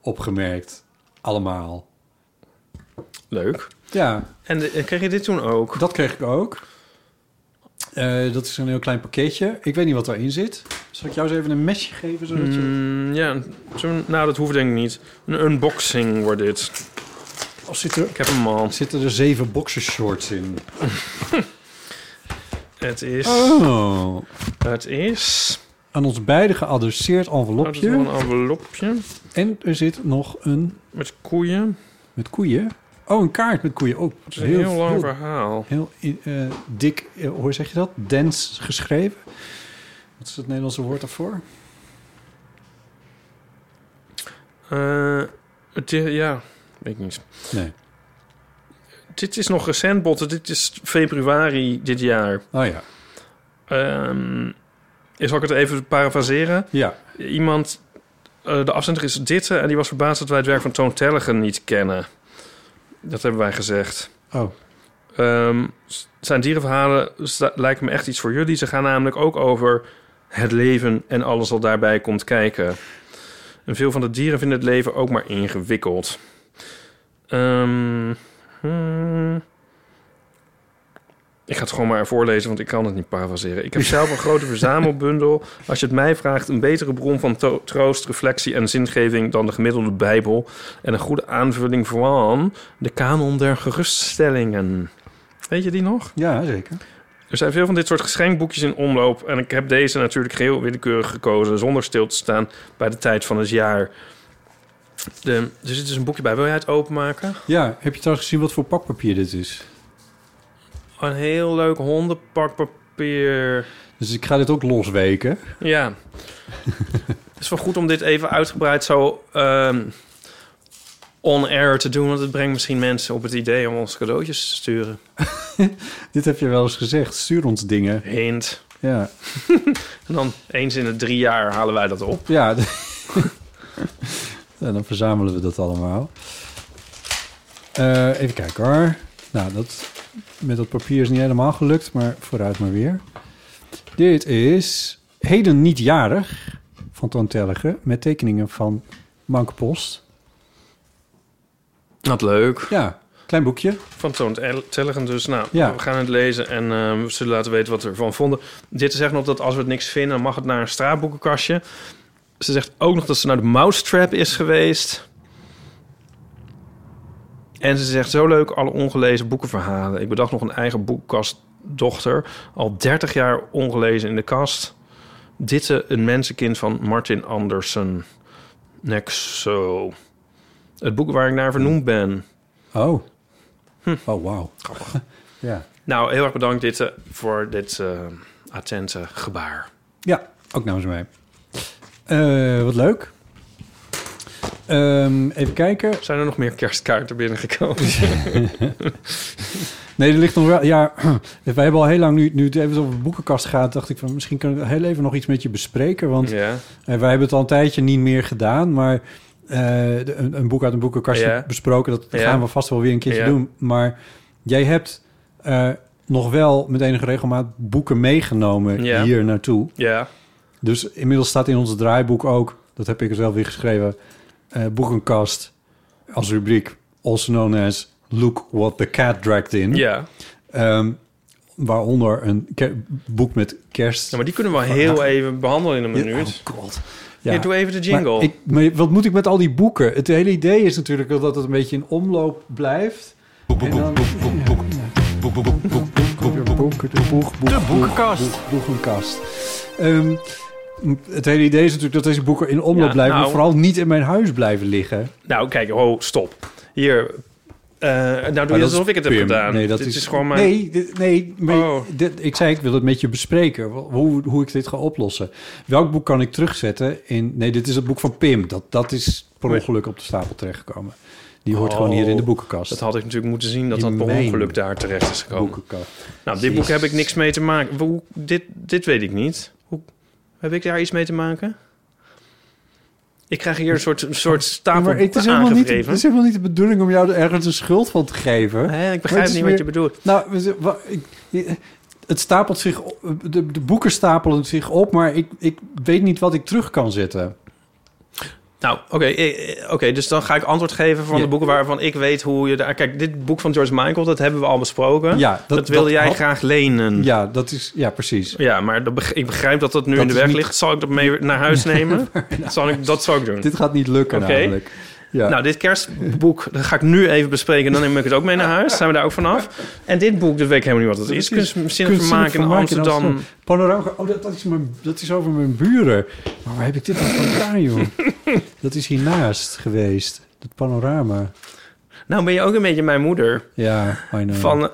S3: opgemerkt. Allemaal.
S2: leuk.
S3: Ja,
S2: En de- en kreeg je dit toen ook?
S3: Dat kreeg ik ook. Eh, dat is een heel klein pakketje. Ik weet niet wat daarin zit. Zal ik jou eens even een mesje geven? Zodat je...
S2: Mm, ja, zo'n- nou, dat hoeft denk ik niet. Een unboxing wordt dit.
S3: Of zit er...
S2: Ik heb hem al.
S3: Zitten er zeven boxershorts in?
S2: Het is...
S3: Oh.
S2: Het is...
S3: Aan ons beide geadresseerd
S2: Dat is wel een
S3: envelopje.
S2: envelopje
S3: En er zit nog een
S2: met koeien.
S3: met koeien. Oh, een kaart met koeien. Oh,
S2: Het is een heel, lang
S3: heel-
S2: verhaal.
S3: Heel eh, dik, eh, hoe zeg je dat? Dens geschreven. Wat is het Nederlandse woord daarvoor?
S2: Eh, Het, eh, ja, weet ik niet.
S3: Nee.
S2: Dit is nog recent, Botten. Dit is februari dit jaar.
S3: Oh ja.
S2: Ehm zal ik het even parafraseren?
S3: Ja.
S2: Iemand, eh, de afzender is Ditte... en die was verbaasd dat wij het werk van Toon Tellegen niet kennen. Dat hebben wij gezegd.
S3: Oh.
S2: Ehm, s- zijn dierenverhalen sta- lijken me echt iets voor jullie. Ze gaan namelijk ook over het leven en alles wat daarbij komt kijken. En veel van de dieren vinden het leven ook maar ingewikkeld. Ehm, hmm. Ik ga het gewoon maar voorlezen, want ik kan het niet parafraseren. Ik heb zelf een grote verzamelbundel. Als je het mij vraagt, een betere bron van to- troost, reflectie en zingeving dan de gemiddelde Bijbel. En een goede aanvulling van de kanon der geruststellingen. Weet je die nog?
S3: Ja, zeker.
S2: Er zijn veel van dit soort geschenkboekjes in omloop. En ik heb deze natuurlijk geheel willekeurig gekozen. Zonder stil te staan bij de tijd van het jaar. De, er zit dus een boekje bij. Wil jij het openmaken?
S3: Ja, heb je trouwens gezien wat voor pakpapier dit is?
S2: Oh, Een heel leuk hondenpak papier.
S3: Dus ik ga dit ook losweken.
S2: Ja. het is wel goed om dit even uitgebreid zo ehm, on-air te doen. Want het brengt misschien mensen op het idee om ons cadeautjes te sturen.
S3: Dit heb je wel eens gezegd. Stuur ons dingen.
S2: Hint.
S3: Ja.
S2: En dan eens in de drie jaar halen wij dat op.
S3: Ja. en dan verzamelen we dat allemaal. Eh, even kijken hoor. Nou, dat, met dat papier is niet helemaal gelukt, maar vooruit maar weer. Dit is Heden niet jarig van Toon Tellegen met tekeningen van Manke Post.
S2: Wat leuk.
S3: Ja, klein boekje.
S2: Van Toon Tellegen dus. Nou,
S3: Ja.
S2: we gaan het lezen en eh, we zullen laten weten wat we ervan vonden. Dit zegt nog dat als we het niks vinden, dan mag het naar een straatboekenkastje. Ze zegt ook nog dat ze naar de Mousetrap is geweest. En ze zegt, zo leuk, alle ongelezen boekenverhalen. Ik bedacht nog een eigen boekkastdochter. Al 30 jaar ongelezen in de kast. Ditte, een mensenkind van Martin Andersen. Next zo. Het boek waar ik naar vernoemd ben.
S3: Oh. Oh, wauw. Ja.
S2: Nou, heel erg bedankt Ditte voor dit eh, attente gebaar.
S3: ja, ook namens mij. Eh, wat leuk. Ehm, even kijken.
S2: Zijn er nog meer kerstkaarten binnengekomen?
S3: Nee, er ligt nog wel. Ja, wij hebben al heel lang nu, nu het even over de boekenkast gaat. Dacht ik van misschien kunnen we heel even nog iets met je bespreken. Want
S2: ja.
S3: eh, wij hebben het al een tijdje niet meer gedaan. Maar eh, de- een, een boek uit een boekenkast
S2: Ja.
S3: besproken. Dat
S2: Ja.
S3: gaan we vast wel weer een keertje
S2: Ja.
S3: doen. Maar jij hebt eh, nog wel met enige regelmaat boeken meegenomen
S2: Ja.
S3: hier naartoe.
S2: ja.
S3: Dus inmiddels staat in ons draaiboek ook, dat heb ik er zelf weer geschreven, eh, boekenkast als rubriek, also known as Look What the Cat Dragged In.
S2: Ja.
S3: Ehm, waaronder een ke- boek met kerst.
S2: Nou, maar die kunnen we heel even behandelen in een minuut.
S3: Oh god.
S2: Ja. doe even de jingle.
S3: Maar ik, maar wat moet ik met al die boeken? Het hele idee is natuurlijk wel dat het een beetje in omloop blijft. En dan- De boekenkast. Boekenkast. Ehm, het hele idee is natuurlijk dat deze boeken in omloop
S2: Ja,
S3: blijven, maar
S2: nou.
S3: vooral niet in mijn huis blijven liggen.
S2: Nou, kijk, ho, stop. Hier. Eh, nou, doe
S3: Maar
S2: je
S3: dat
S2: alsof
S3: is
S2: ik het heb
S3: Pim.
S2: gedaan.
S3: Nee, dat
S2: dit
S3: is,
S2: is, gewoon mijn...
S3: Nee, dit- nee maar
S2: Oh.
S3: dit, ik zei, ik wil het met je bespreken. wa- Hoe, hoe ik dit ga oplossen. Welk boek kan ik terugzetten in... Nee, dit is het boek van Pim. Dat, dat is per ongeluk op de stapel terechtgekomen. Die hoort
S2: Oh,
S3: gewoon hier in de boekenkast.
S2: Dat had ik natuurlijk moeten zien dat
S3: In
S2: dat per
S3: mijn
S2: ongeluk daar terecht is gekomen.
S3: boekenkast.
S2: Nou, dit boek heb ik niks mee te maken. Hoe, dit, dit weet ik niet. Hoe, heb ik daar iets mee te maken? Ik krijg hier een soort, een soort stapel
S3: Maar het is,
S2: boeken
S3: helemaal niet, het
S2: aangegeven.
S3: is helemaal niet de bedoeling om jou er ergens een schuld van te geven.
S2: Hè, ik
S3: Maar het
S2: begrijp
S3: is
S2: niet
S3: weer-
S2: wat je bedoelt.
S3: Nou, we z- wa- ik- je- het stapelt zich... op- De, de boeken stapelen zich op, maar ik, ik weet niet wat ik terug kan zetten.
S2: Nou, oké, eh, eh, oké, dus dan ga ik antwoord geven van
S3: Ja.
S2: de boeken waarvan ik weet hoe je daar... Kijk, dit boek van George Michael, dat hebben we al besproken.
S3: Ja, dat-
S2: dat, wilde
S3: dat
S2: jij
S3: had-
S2: graag lenen. Ja,
S3: Ja, dat is... Ja, precies.
S2: maar dat beg- ik begrijp dat dat nu
S3: Dat
S2: in de
S3: is
S2: weg
S3: niet-
S2: ligt. Zal ik dat mee naar huis nemen? zal ik, dat zal ik doen.
S3: Dit gaat niet lukken
S2: Hm. Oké.
S3: namelijk. Ja.
S2: Nou, dit kerstboek dat ga ik nu even bespreken. Dan neem ik het ook mee naar huis. Zijn we daar ook vanaf? En dit boek, dat weet ik helemaal niet wat het is. Kunstzinnig vermaken in Amsterdam.
S3: Panorama. Oh, dat, dat, is mijn, dat is over mijn buren. Maar waar heb ik dit nou van gedaan, joh? dat is hiernaast geweest. Dat panorama.
S2: Nou, ben je ook een beetje mijn moeder.
S3: Ja, I know.
S2: Van,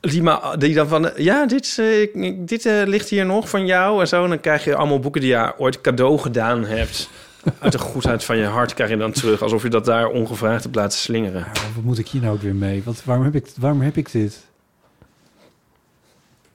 S2: die, ma- die dan van, ja, dit, is, eh, ik- dit eh, ligt hier nog van jou en zo. En dan krijg je allemaal boeken die je ooit cadeau gedaan hebt Uit de goedheid van je hart krijg je dan terug. Alsof je dat daar ongevraagd hebt laten slingeren.
S3: Maar wat moet ik hier nou ook weer mee? Wat, waarom, heb ik, waarom heb ik dit?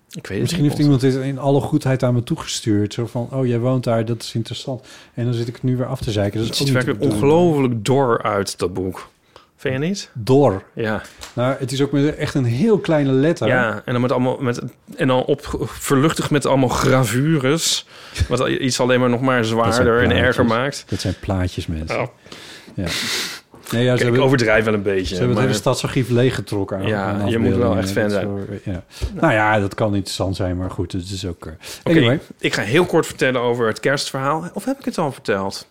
S2: Ik weet het
S3: Misschien heeft iemand dit in alle goedheid aan me toegestuurd. Zo van, oh, jij woont daar, dat is interessant. En dan zit ik het nu weer af te zeiken. Dat
S2: Het
S3: is ook
S2: ziet
S3: niet
S2: er
S3: de
S2: werkelijk
S3: bedoeling.
S2: ongelooflijk door uit, dat boek. Vind je niet?
S3: Door.
S2: Ja.
S3: Nou, het is ook met echt een heel kleine letter.
S2: Ja, en dan, met allemaal, met, en dan op, verluchtig met allemaal gravures. Wat al- iets alleen maar nog maar zwaarder en erger
S3: plaatjes.
S2: maakt.
S3: Dat zijn plaatjes, mensen.
S2: Oh.
S3: Ja. Nee, ja, ze
S2: Kijk, ik
S3: hebben,
S2: overdrijf wel een beetje.
S3: ze hebben het
S2: maar-
S3: hele stadsarchief leeggetrokken. aan-
S2: Ja,
S3: aan
S2: je moet
S3: afbeeldingen
S2: wel echt
S3: en
S2: fan
S3: dat
S2: zijn.
S3: soort- ja. Nou ja, dat kan interessant zijn, maar goed, het is ook... eh,
S2: Oké,
S3: Anyway,
S2: ik ga heel kort vertellen over het kerstverhaal. Of heb ik het al verteld?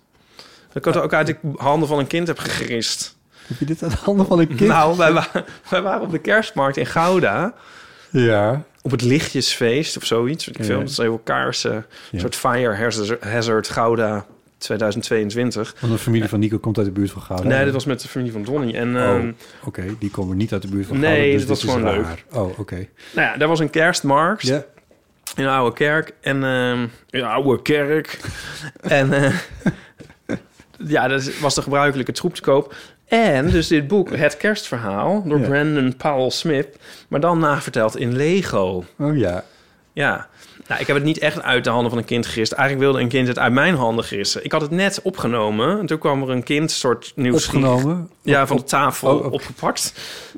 S2: Dat ik het ook uit de handen van een kind heb gegist.
S3: heb je dit aan de handen van een kind?
S2: Nou, wij, wa- wij waren op de kerstmarkt in Gouda.
S3: Ja.
S2: Op het lichtjesfeest of zoiets. Weet ik veel.
S3: Ja.
S2: Dat is even kaarsen. Een
S3: Ja.
S2: soort fire hazard, hazard Gouda 2022.
S3: Want de familie van Nico komt uit de buurt van Gouda.
S2: Nee, dat was met de familie van Donnie. En
S3: Oh,
S2: ehm,
S3: Oké, die komen niet uit de buurt van
S2: Nee,
S3: Gouda, dus
S2: dat was
S3: dit is
S2: gewoon
S3: raar. Oh, oké.
S2: nou ja, daar was een kerstmarkt.
S3: Ja.
S2: In een oude kerk. En ehm in een oude kerk. en eh, ja, dat was de gebruikelijke troep te koop. En dus dit boek, Het Kerstverhaal, door
S3: Ja.
S2: Brandon Powell Smith. Maar dan naverteld in Lego.
S3: Oh ja.
S2: Ja. Nou, ik heb het niet echt uit de handen van een kind gerist. Eigenlijk wilde een kind het uit mijn handen gissen. Ik had het net opgenomen. En toen kwam er een kind, soort nieuwsgierig
S3: Opgenomen.
S2: Ja, van de tafel
S3: oh, oké.
S2: opgepakt.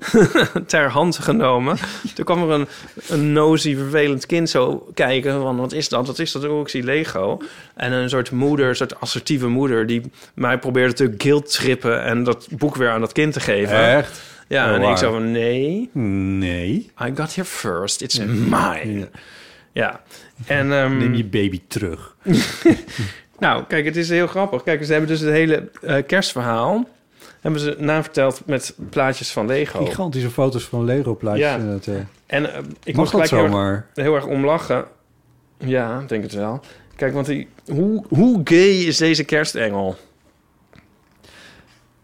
S2: Ter hand genomen. Toen kwam er een, een nozy, vervelend kind zo kijken. Van, wat is dat? Wat is dat? Oh, ik zie Lego. En een soort moeder, een soort assertieve moeder... die mij probeerde te guilt-trippen... en dat boek weer aan dat kind te geven.
S3: Echt?
S2: Ja,
S3: Oh,
S2: en ik
S3: waar.
S2: zo van... Nee,
S3: Nee.
S2: I got here first. It's mine. Ja.
S3: Ja.
S2: En, ehm,
S3: Mm. Neem je baby terug.
S2: Nou, kijk, het is heel grappig. Kijk, ze hebben dus het hele eh, kerstverhaal... hebben ze naverteld met plaatjes van Lego.
S3: Gigantische foto's van Lego plaatjes.
S2: Oh. Ja.
S3: en dat, eh,
S2: En eh, ik
S3: Mag
S2: moest
S3: dat
S2: gelijk heel erg,
S3: zomaar?
S2: heel erg om lachen. Ja, ik denk het wel. Kijk, want die, hoe, hoe gay is deze kerstengel?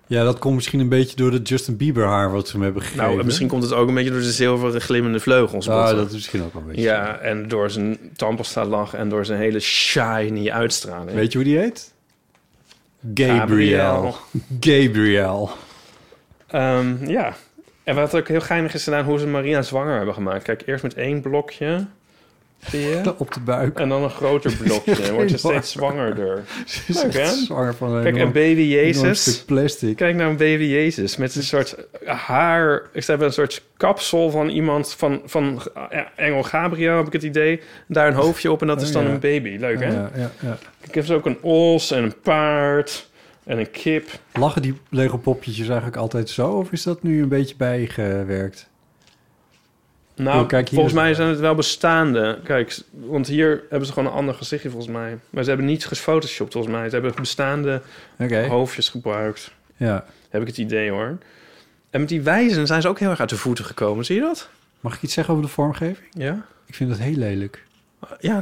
S3: Ja, dat komt misschien een beetje door het Justin Bieber haar wat ze hem hebben gegeven.
S2: Nou, misschien komt het ook een beetje door de zilveren glimmende vleugels.
S3: Ah,
S2: Botte.
S3: dat is misschien ook wel een beetje.
S2: Ja, en door zijn tandpasta lach en door zijn hele shiny uitstraling.
S3: Weet je hoe die heet?
S2: Gabriel.
S3: Gabriel. Gabriel.
S2: Ehm, ja. En wat ook heel geinig is gedaan, hoe ze Maria zwanger hebben gemaakt. Kijk, eerst met één blokje. Zie je?
S3: Op de buik.
S2: En dan een groter blokje. Wordt ze steeds zwangerder.
S3: Ze is
S2: Leuk,
S3: echt
S2: hè?
S3: zwanger van een
S2: Kijk, en
S3: enorm-
S2: baby
S3: enorm
S2: Jezus.
S3: stuk plastic.
S2: Kijk naar een baby Jezus met een soort haar. Ik heb een soort kapsel van iemand van, van eh, Engel Gabriel, heb ik het idee. Daar een hoofdje op en dat
S3: Oh,
S2: is dan
S3: ja. Oh,
S2: een baby. Leuk, hè?
S3: Ja, ja, ja.
S2: Ik heb dus ook een os en een paard en een kip.
S3: Lachen die Lego popjes eigenlijk altijd zo? Of is dat nu een beetje bijgewerkt?
S2: Nou,
S3: Oh, kijk, hier
S2: volgens
S3: is-
S2: mij zijn het wel bestaande. Kijk, want hier hebben ze gewoon een ander gezichtje volgens mij. Maar ze hebben niets gefotoshopt volgens mij. Ze hebben bestaande
S3: Oké.
S2: hoofdjes gebruikt.
S3: Ja.
S2: Heb ik het idee, hoor. En met die wijzen zijn ze ook heel erg uit de voeten gekomen. Zie je dat?
S3: Mag ik iets zeggen over de vormgeving?
S2: Ja.
S3: Ik vind dat heel lelijk.
S2: Ja,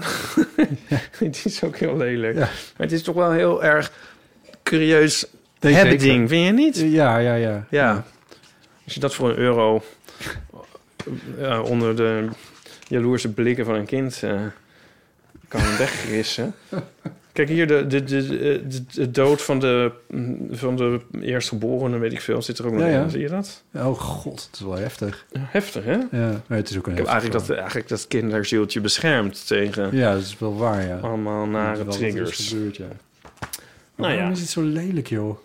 S2: het is ook heel lelijk.
S3: Ja.
S2: Maar het is toch wel heel erg curieus
S3: Nee,
S2: hebben
S3: zeker.
S2: ding, vind je niet? Ja.
S3: Ja, ja, ja.
S2: Als je dat voor een euro eh, onder de jaloerse blikken van een kind eh, kan wegrissen. Kijk hier, de, de, de, de, de dood van de, van de eerstgeborene, weet ik veel, zit er ook nog
S3: Ja, ja.
S2: in. Zie je dat?
S3: Oh god, dat is wel heftig.
S2: Heftig, hè?
S3: Ja, maar het is ook een
S2: Ik heb
S3: heftig
S2: eigenlijk eh, dat, eigenlijk dat kinderzieltje beschermd tegen
S3: verhaal. Ja, dat is wel waar, ja.
S2: allemaal
S3: Dat is wel
S2: nare
S3: wat er is
S2: triggers.
S3: gebeurd, ja.
S2: Nou
S3: Nou
S2: ja.
S3: Waarom is het zo lelijk, joh?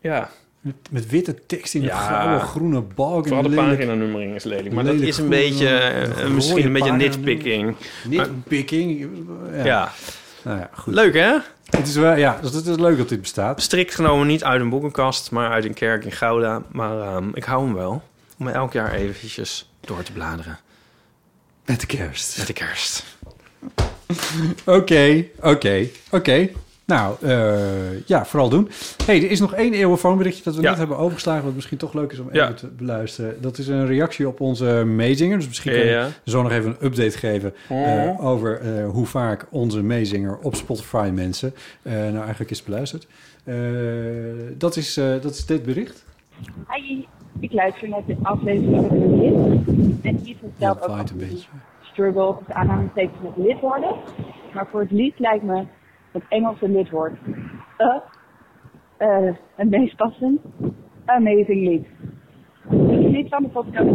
S2: Ja,
S3: Met, met witte tekst in
S2: Ja.
S3: een grauwe groene balk. en
S2: Vooral de
S3: lelijk-
S2: paginanummering is lelijk. Maar dat
S3: lelijk
S2: is een
S3: groen,
S2: beetje,
S3: eh,
S2: eh,
S3: rode
S2: misschien een beetje
S3: paginanummering.
S2: nitpicking.
S3: Nitpicking. Ja.
S2: Ja.
S3: Nou ja, goed.
S2: Leuk hè?
S3: Het is wel, ja, dus het is leuk dat dit bestaat.
S2: Strikt genomen niet uit een boekenkast, maar uit een kerk in Gouda. Maar ehm, ik hou hem wel. Om elk jaar eventjes door te bladeren.
S3: Met de kerst.
S2: Met de kerst.
S3: Oké, oké, oké. Nou, eh, ja, vooral doen. hey, er is nog één eeuwenfoonberichtje dat we
S2: Ja.
S3: net hebben overgeslagen... wat misschien toch leuk is om
S2: Ja.
S3: even te beluisteren. Dat is een reactie op onze meezinger. Dus misschien kunnen we
S2: Ja.
S3: zo nog even een update geven... eh, over eh, hoe vaak onze meezinger op Spotify mensen... eh, nou eigenlijk is beluisterd. Eh, dat, is, eh, dat is dit bericht.
S7: Hi, ik luister naar de aflevering van de lid. En hier vertelt
S3: Dat
S7: ook
S3: waait een
S7: over die
S3: beetje.
S7: struggle, dus aanhalingstekens met lid worden. Maar voor het lied lijkt me het Engelse lidwoord. Up eh, het meest passend. Amazing lied. Niet van de podcast.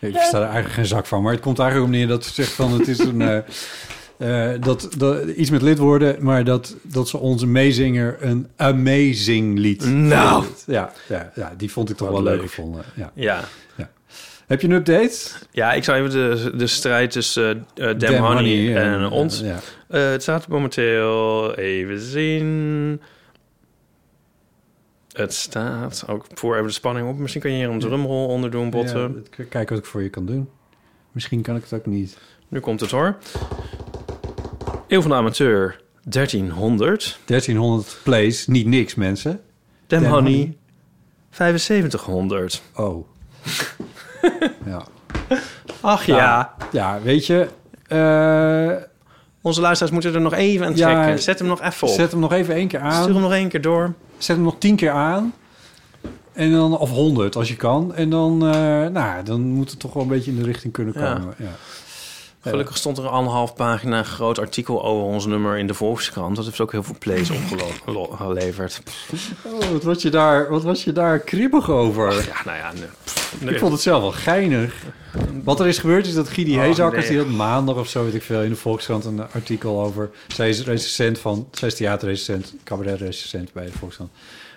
S3: Ik versta er eigenlijk geen zak van. Maar het komt eigenlijk om neer dat ze zegt van het is een... eh, eh, dat, dat, iets met lidwoorden, maar dat, dat ze onze meezinger een amazing lied
S2: Nou.
S3: vindt. Ja, ja, ja, die vond ik toch
S2: Wat
S3: wel leuk
S2: leuk.
S3: gevonden. Ja.
S2: Ja.
S3: Heb je een update?
S2: Ja, ik zou even de, de strijd tussen eh eh, Dem
S3: Damn
S2: Honey,
S3: Honey
S2: en ons.
S3: Ja,
S2: Eh, het staat momenteel even zien. Het staat ook voor even de spanning op. Misschien kan je hier een drumrol onder doen, botten.
S3: Ja, ik- kijk wat ik voor je kan doen. Misschien kan ik het ook niet.
S2: Nu komt het hoor. Eeuw van de Amateur 1300.
S3: 1300 plays, niet niks mensen.
S2: Dem
S3: Dem
S2: Honey,
S3: Honey.
S2: 7500.
S3: Oh. ja.
S2: Ach ja.
S3: ja, weet je. eh,
S2: Onze luisteraars moeten er nog even aan
S3: Ja,
S2: trekken. Zet hem nog even op.
S3: zet hem nog even één keer
S2: Stuur
S3: aan.
S2: hem nog één keer door.
S3: Zet hem nog tien keer aan. En dan, of 100 als je kan. En dan, eh, nou, dan moet het toch wel een beetje in de richting kunnen
S2: Ja.
S3: komen. Ja.
S2: Gelukkig stond er een anderhalf pagina groot artikel over ons nummer in de Volkskrant. Dat heeft ook heel veel plays opgeleverd.
S3: Oh, wat, was je daar, wat was je daar kribbig over?
S2: Ja, nou ja. nee. Pff,
S3: Ik vond het zelf wel geinig. Wat er is gebeurd is dat Gidi
S2: Oh,
S3: Heesakkers...
S2: nee.
S3: die had maandag of zo, weet ik veel... in de Volkskrant een artikel over... zij is recensent van... zij is theaterrecensent, cabaretrecensent bij de Volkskrant.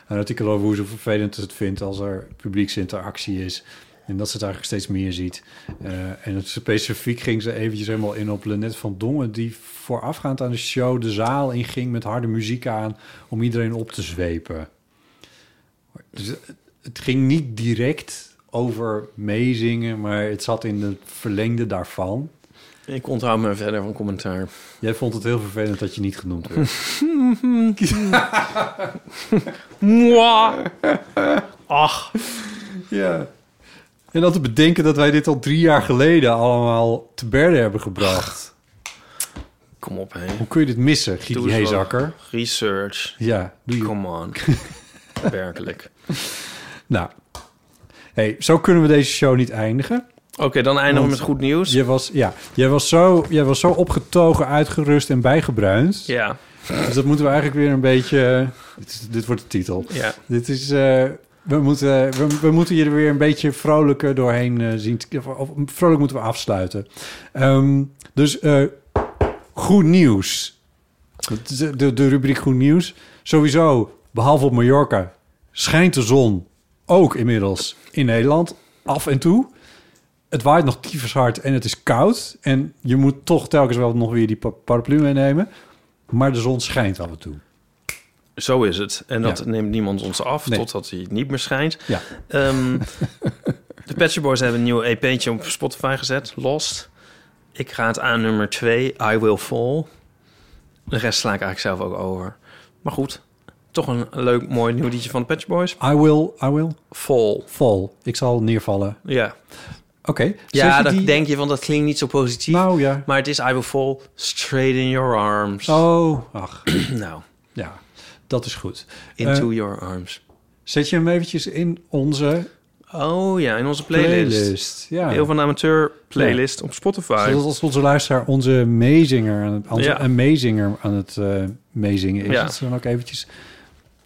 S3: Een artikel over hoe ze vervelend het vindt... als er publieksinteractie is... En dat ze het eigenlijk steeds meer ziet. Eh, en het specifiek ging ze eventjes helemaal in op Lenette van Dongen... die voorafgaand aan de show de zaal inging met harde muziek aan... om iedereen op te zwepen. Dus het ging niet direct over meezingen, maar het zat in het verlengde daarvan.
S2: Ik onthoud me verder van commentaar.
S3: Jij vond het heel vervelend dat je niet genoemd werd.
S2: Mwah. Ach,
S3: ja. En dan te bedenken dat wij dit al drie jaar geleden allemaal te berden hebben gebracht.
S2: kom op, hè.
S3: Hoe kun je dit missen,
S2: Doe
S3: Gidi
S2: eens wat
S3: Heesakker?
S2: Research.
S3: Ja, doe je.
S2: Come on. Werkelijk.
S3: Nou, hey, zo kunnen we deze show niet eindigen.
S2: Oké, dan eindigen we met goed nieuws.
S3: Jij was, ja, jij was, zo, jij was zo opgetogen, uitgerust en bijgebruind.
S2: Ja,
S3: Dus dat moeten we eigenlijk weer een beetje... eh, Dit, is- dit wordt de titel.
S2: ja.
S3: Dit is. eh, we, moeten, we, we moeten hier weer een beetje vrolijker doorheen eh, zien. te- Of, of vrolijk moeten we afsluiten. Ehm, dus eh, goed nieuws. Het is, eh, De, de rubriek goed nieuws. Sowieso, behalve op Mallorca, schijnt de zon ook inmiddels in Nederland af en toe. Het waait nog tyfushard en het is koud. En je moet toch telkens wel nog weer die pa- paraplu meenemen. Maar de zon schijnt af en toe.
S2: Zo is het. En dat
S3: Ja.
S2: neemt niemand ons af
S3: Nee.
S2: totdat hij niet meer schijnt.
S3: Ja.
S2: Ehm, de Pet Shop Boys hebben een nieuw EP'tje op Spotify gezet. Lost. Ik ga het aan nummer 2, I Will Fall. De rest sla ik eigenlijk zelf ook over. Maar goed, toch een leuk mooi nieuw liedje van de Pet Shop Boys.
S3: I will, I will
S2: Fall.
S3: fall. Ik zal neervallen.
S2: Ja,
S3: Oké. Zet
S2: ja
S3: je
S2: dat
S3: die-
S2: denk je, want dat klinkt niet zo positief.
S3: Nou ja.
S2: Maar het is I Will Fall Straight in Your Arms.
S3: Oh, ach.
S2: Nou,
S3: Ja, dat is goed. Eh,
S2: Into Your Arms.
S3: Zet je hem eventjes in onze
S2: Oh ja, in onze playlist.
S3: playlist. Ja.
S2: Heel van de Amateur playlist op Spotify.
S3: Zodat als onze luisteraar onze meezinger aan het, onze
S2: Ja.
S3: amazinger aan het eh, meezingen is.
S2: Ja.
S3: Dat ze dan ook eventjes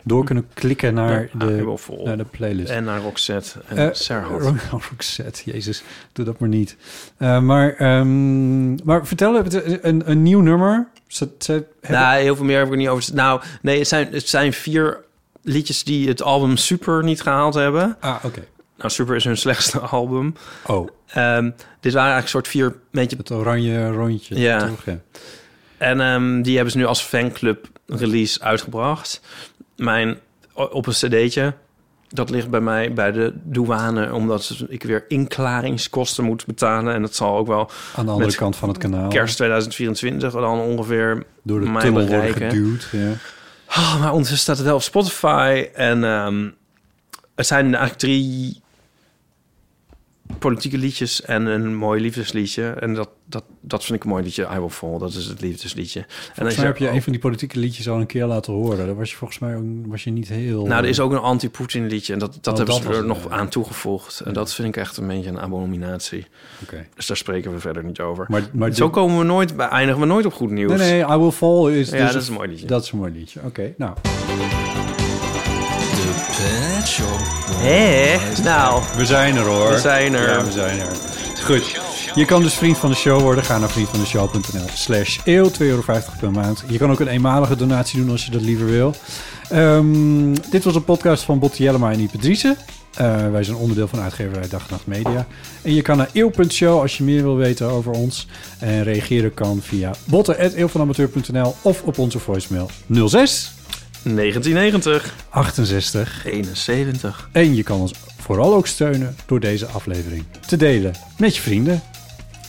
S3: door kunnen klikken naar,
S2: Ja, Ah, I
S3: de,
S2: Will Fall.
S3: naar de playlist.
S2: En naar Roxette en
S3: Eh,
S2: Serhat.
S3: Ronald Roxette, jezus, doe dat maar niet. Eh, maar, ehm, maar vertel, het- een, een nieuw nummer. Ze, ze hebben-
S2: nou, heel veel meer heb ik er niet over. te- Nou, nee, het zijn, het zijn vier liedjes die het album Super niet gehaald hebben.
S3: Ah, oké.
S2: Nou, Super is hun slechtste album.
S3: Oh,
S2: Ehm, dit waren eigenlijk soort vier, beetje...
S3: het oranje rondje.
S2: Ja.
S3: toch? ja.
S2: En ehm, die hebben ze nu als fanclub release uitgebracht. Mijn, op een cd'tje. Dat ligt bij mij bij de douane, omdat ze- ik weer inklaringskosten moet betalen. En dat zal ook wel
S3: Aan de andere
S2: Met
S3: kant van het kanaal.
S2: kerst 2024 dan ongeveer
S3: door de
S2: mijn
S3: tunnel worden
S2: bereiken.
S3: geduwd. Ja.
S2: Ah, maar ondertussen staat het wel op Spotify. En ehm, het zijn eigenlijk drie politieke liedjes en een mooi liefdesliedje. En dat, dat, dat vind ik een mooi liedje. I Will Fall, dat is het liefdesliedje. En dan
S3: Volgens mij heb je een van die politieke liedjes al een keer laten horen. Daar was je volgens mij ook- was je niet heel...
S2: Nou, er is ook een anti-Poetin liedje. En dat, dat
S3: Oh,
S2: hebben
S3: dat
S2: ze er
S3: was het,
S2: nog
S3: ja.
S2: aan toegevoegd. En dat vind ik echt een beetje een abominatie.
S3: Oké.
S2: Dus daar spreken we verder niet over.
S3: Maar, maar
S2: Zo
S3: dit-
S2: komen we nooit, bij- eindigen we nooit op goed nieuws.
S3: Nee, nee, I Will Fall is...
S2: Ja,
S3: dus-
S2: dat is een mooi liedje.
S3: Dat is een mooi liedje, oké. nou,
S2: Hé, nou,
S3: We zijn er hoor.
S2: We zijn er.
S3: Ja, we zijn er. Goed. Je kan dus vriend van de show worden. Ga naar vriendvandeshow.nl slash eeuw. 2,50 euro per maand. Je kan ook een eenmalige donatie doen als je dat liever wil. Ehm, dit was een podcast van Botte Jellema en Ipe Driessen. Eh, wij zijn onderdeel van uitgeverij Dag en Nacht Media. En je kan naar eeuw.show als je meer wil weten over ons. En reageren kan via botte.eeuwvanamateur.nl of op onze voicemail 06
S2: 1990,
S3: 68
S2: 71.
S3: en je kan ons vooral ook steunen door deze aflevering te delen met je vrienden.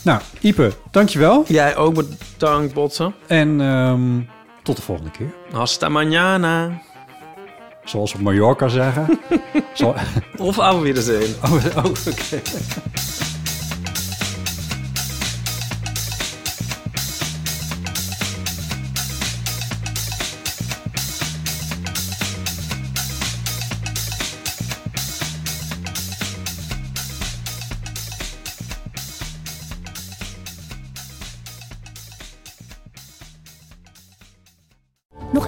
S3: Nou, Ipe, dankjewel.
S2: Jij ook bedankt, Botsen.
S3: En ehm, tot de volgende keer.
S2: Hasta mañana.
S3: Zoals we op Mallorca zeggen. Zo- oh,
S2: Of auf Wiedersehen.
S3: oh, oké.
S1: Nog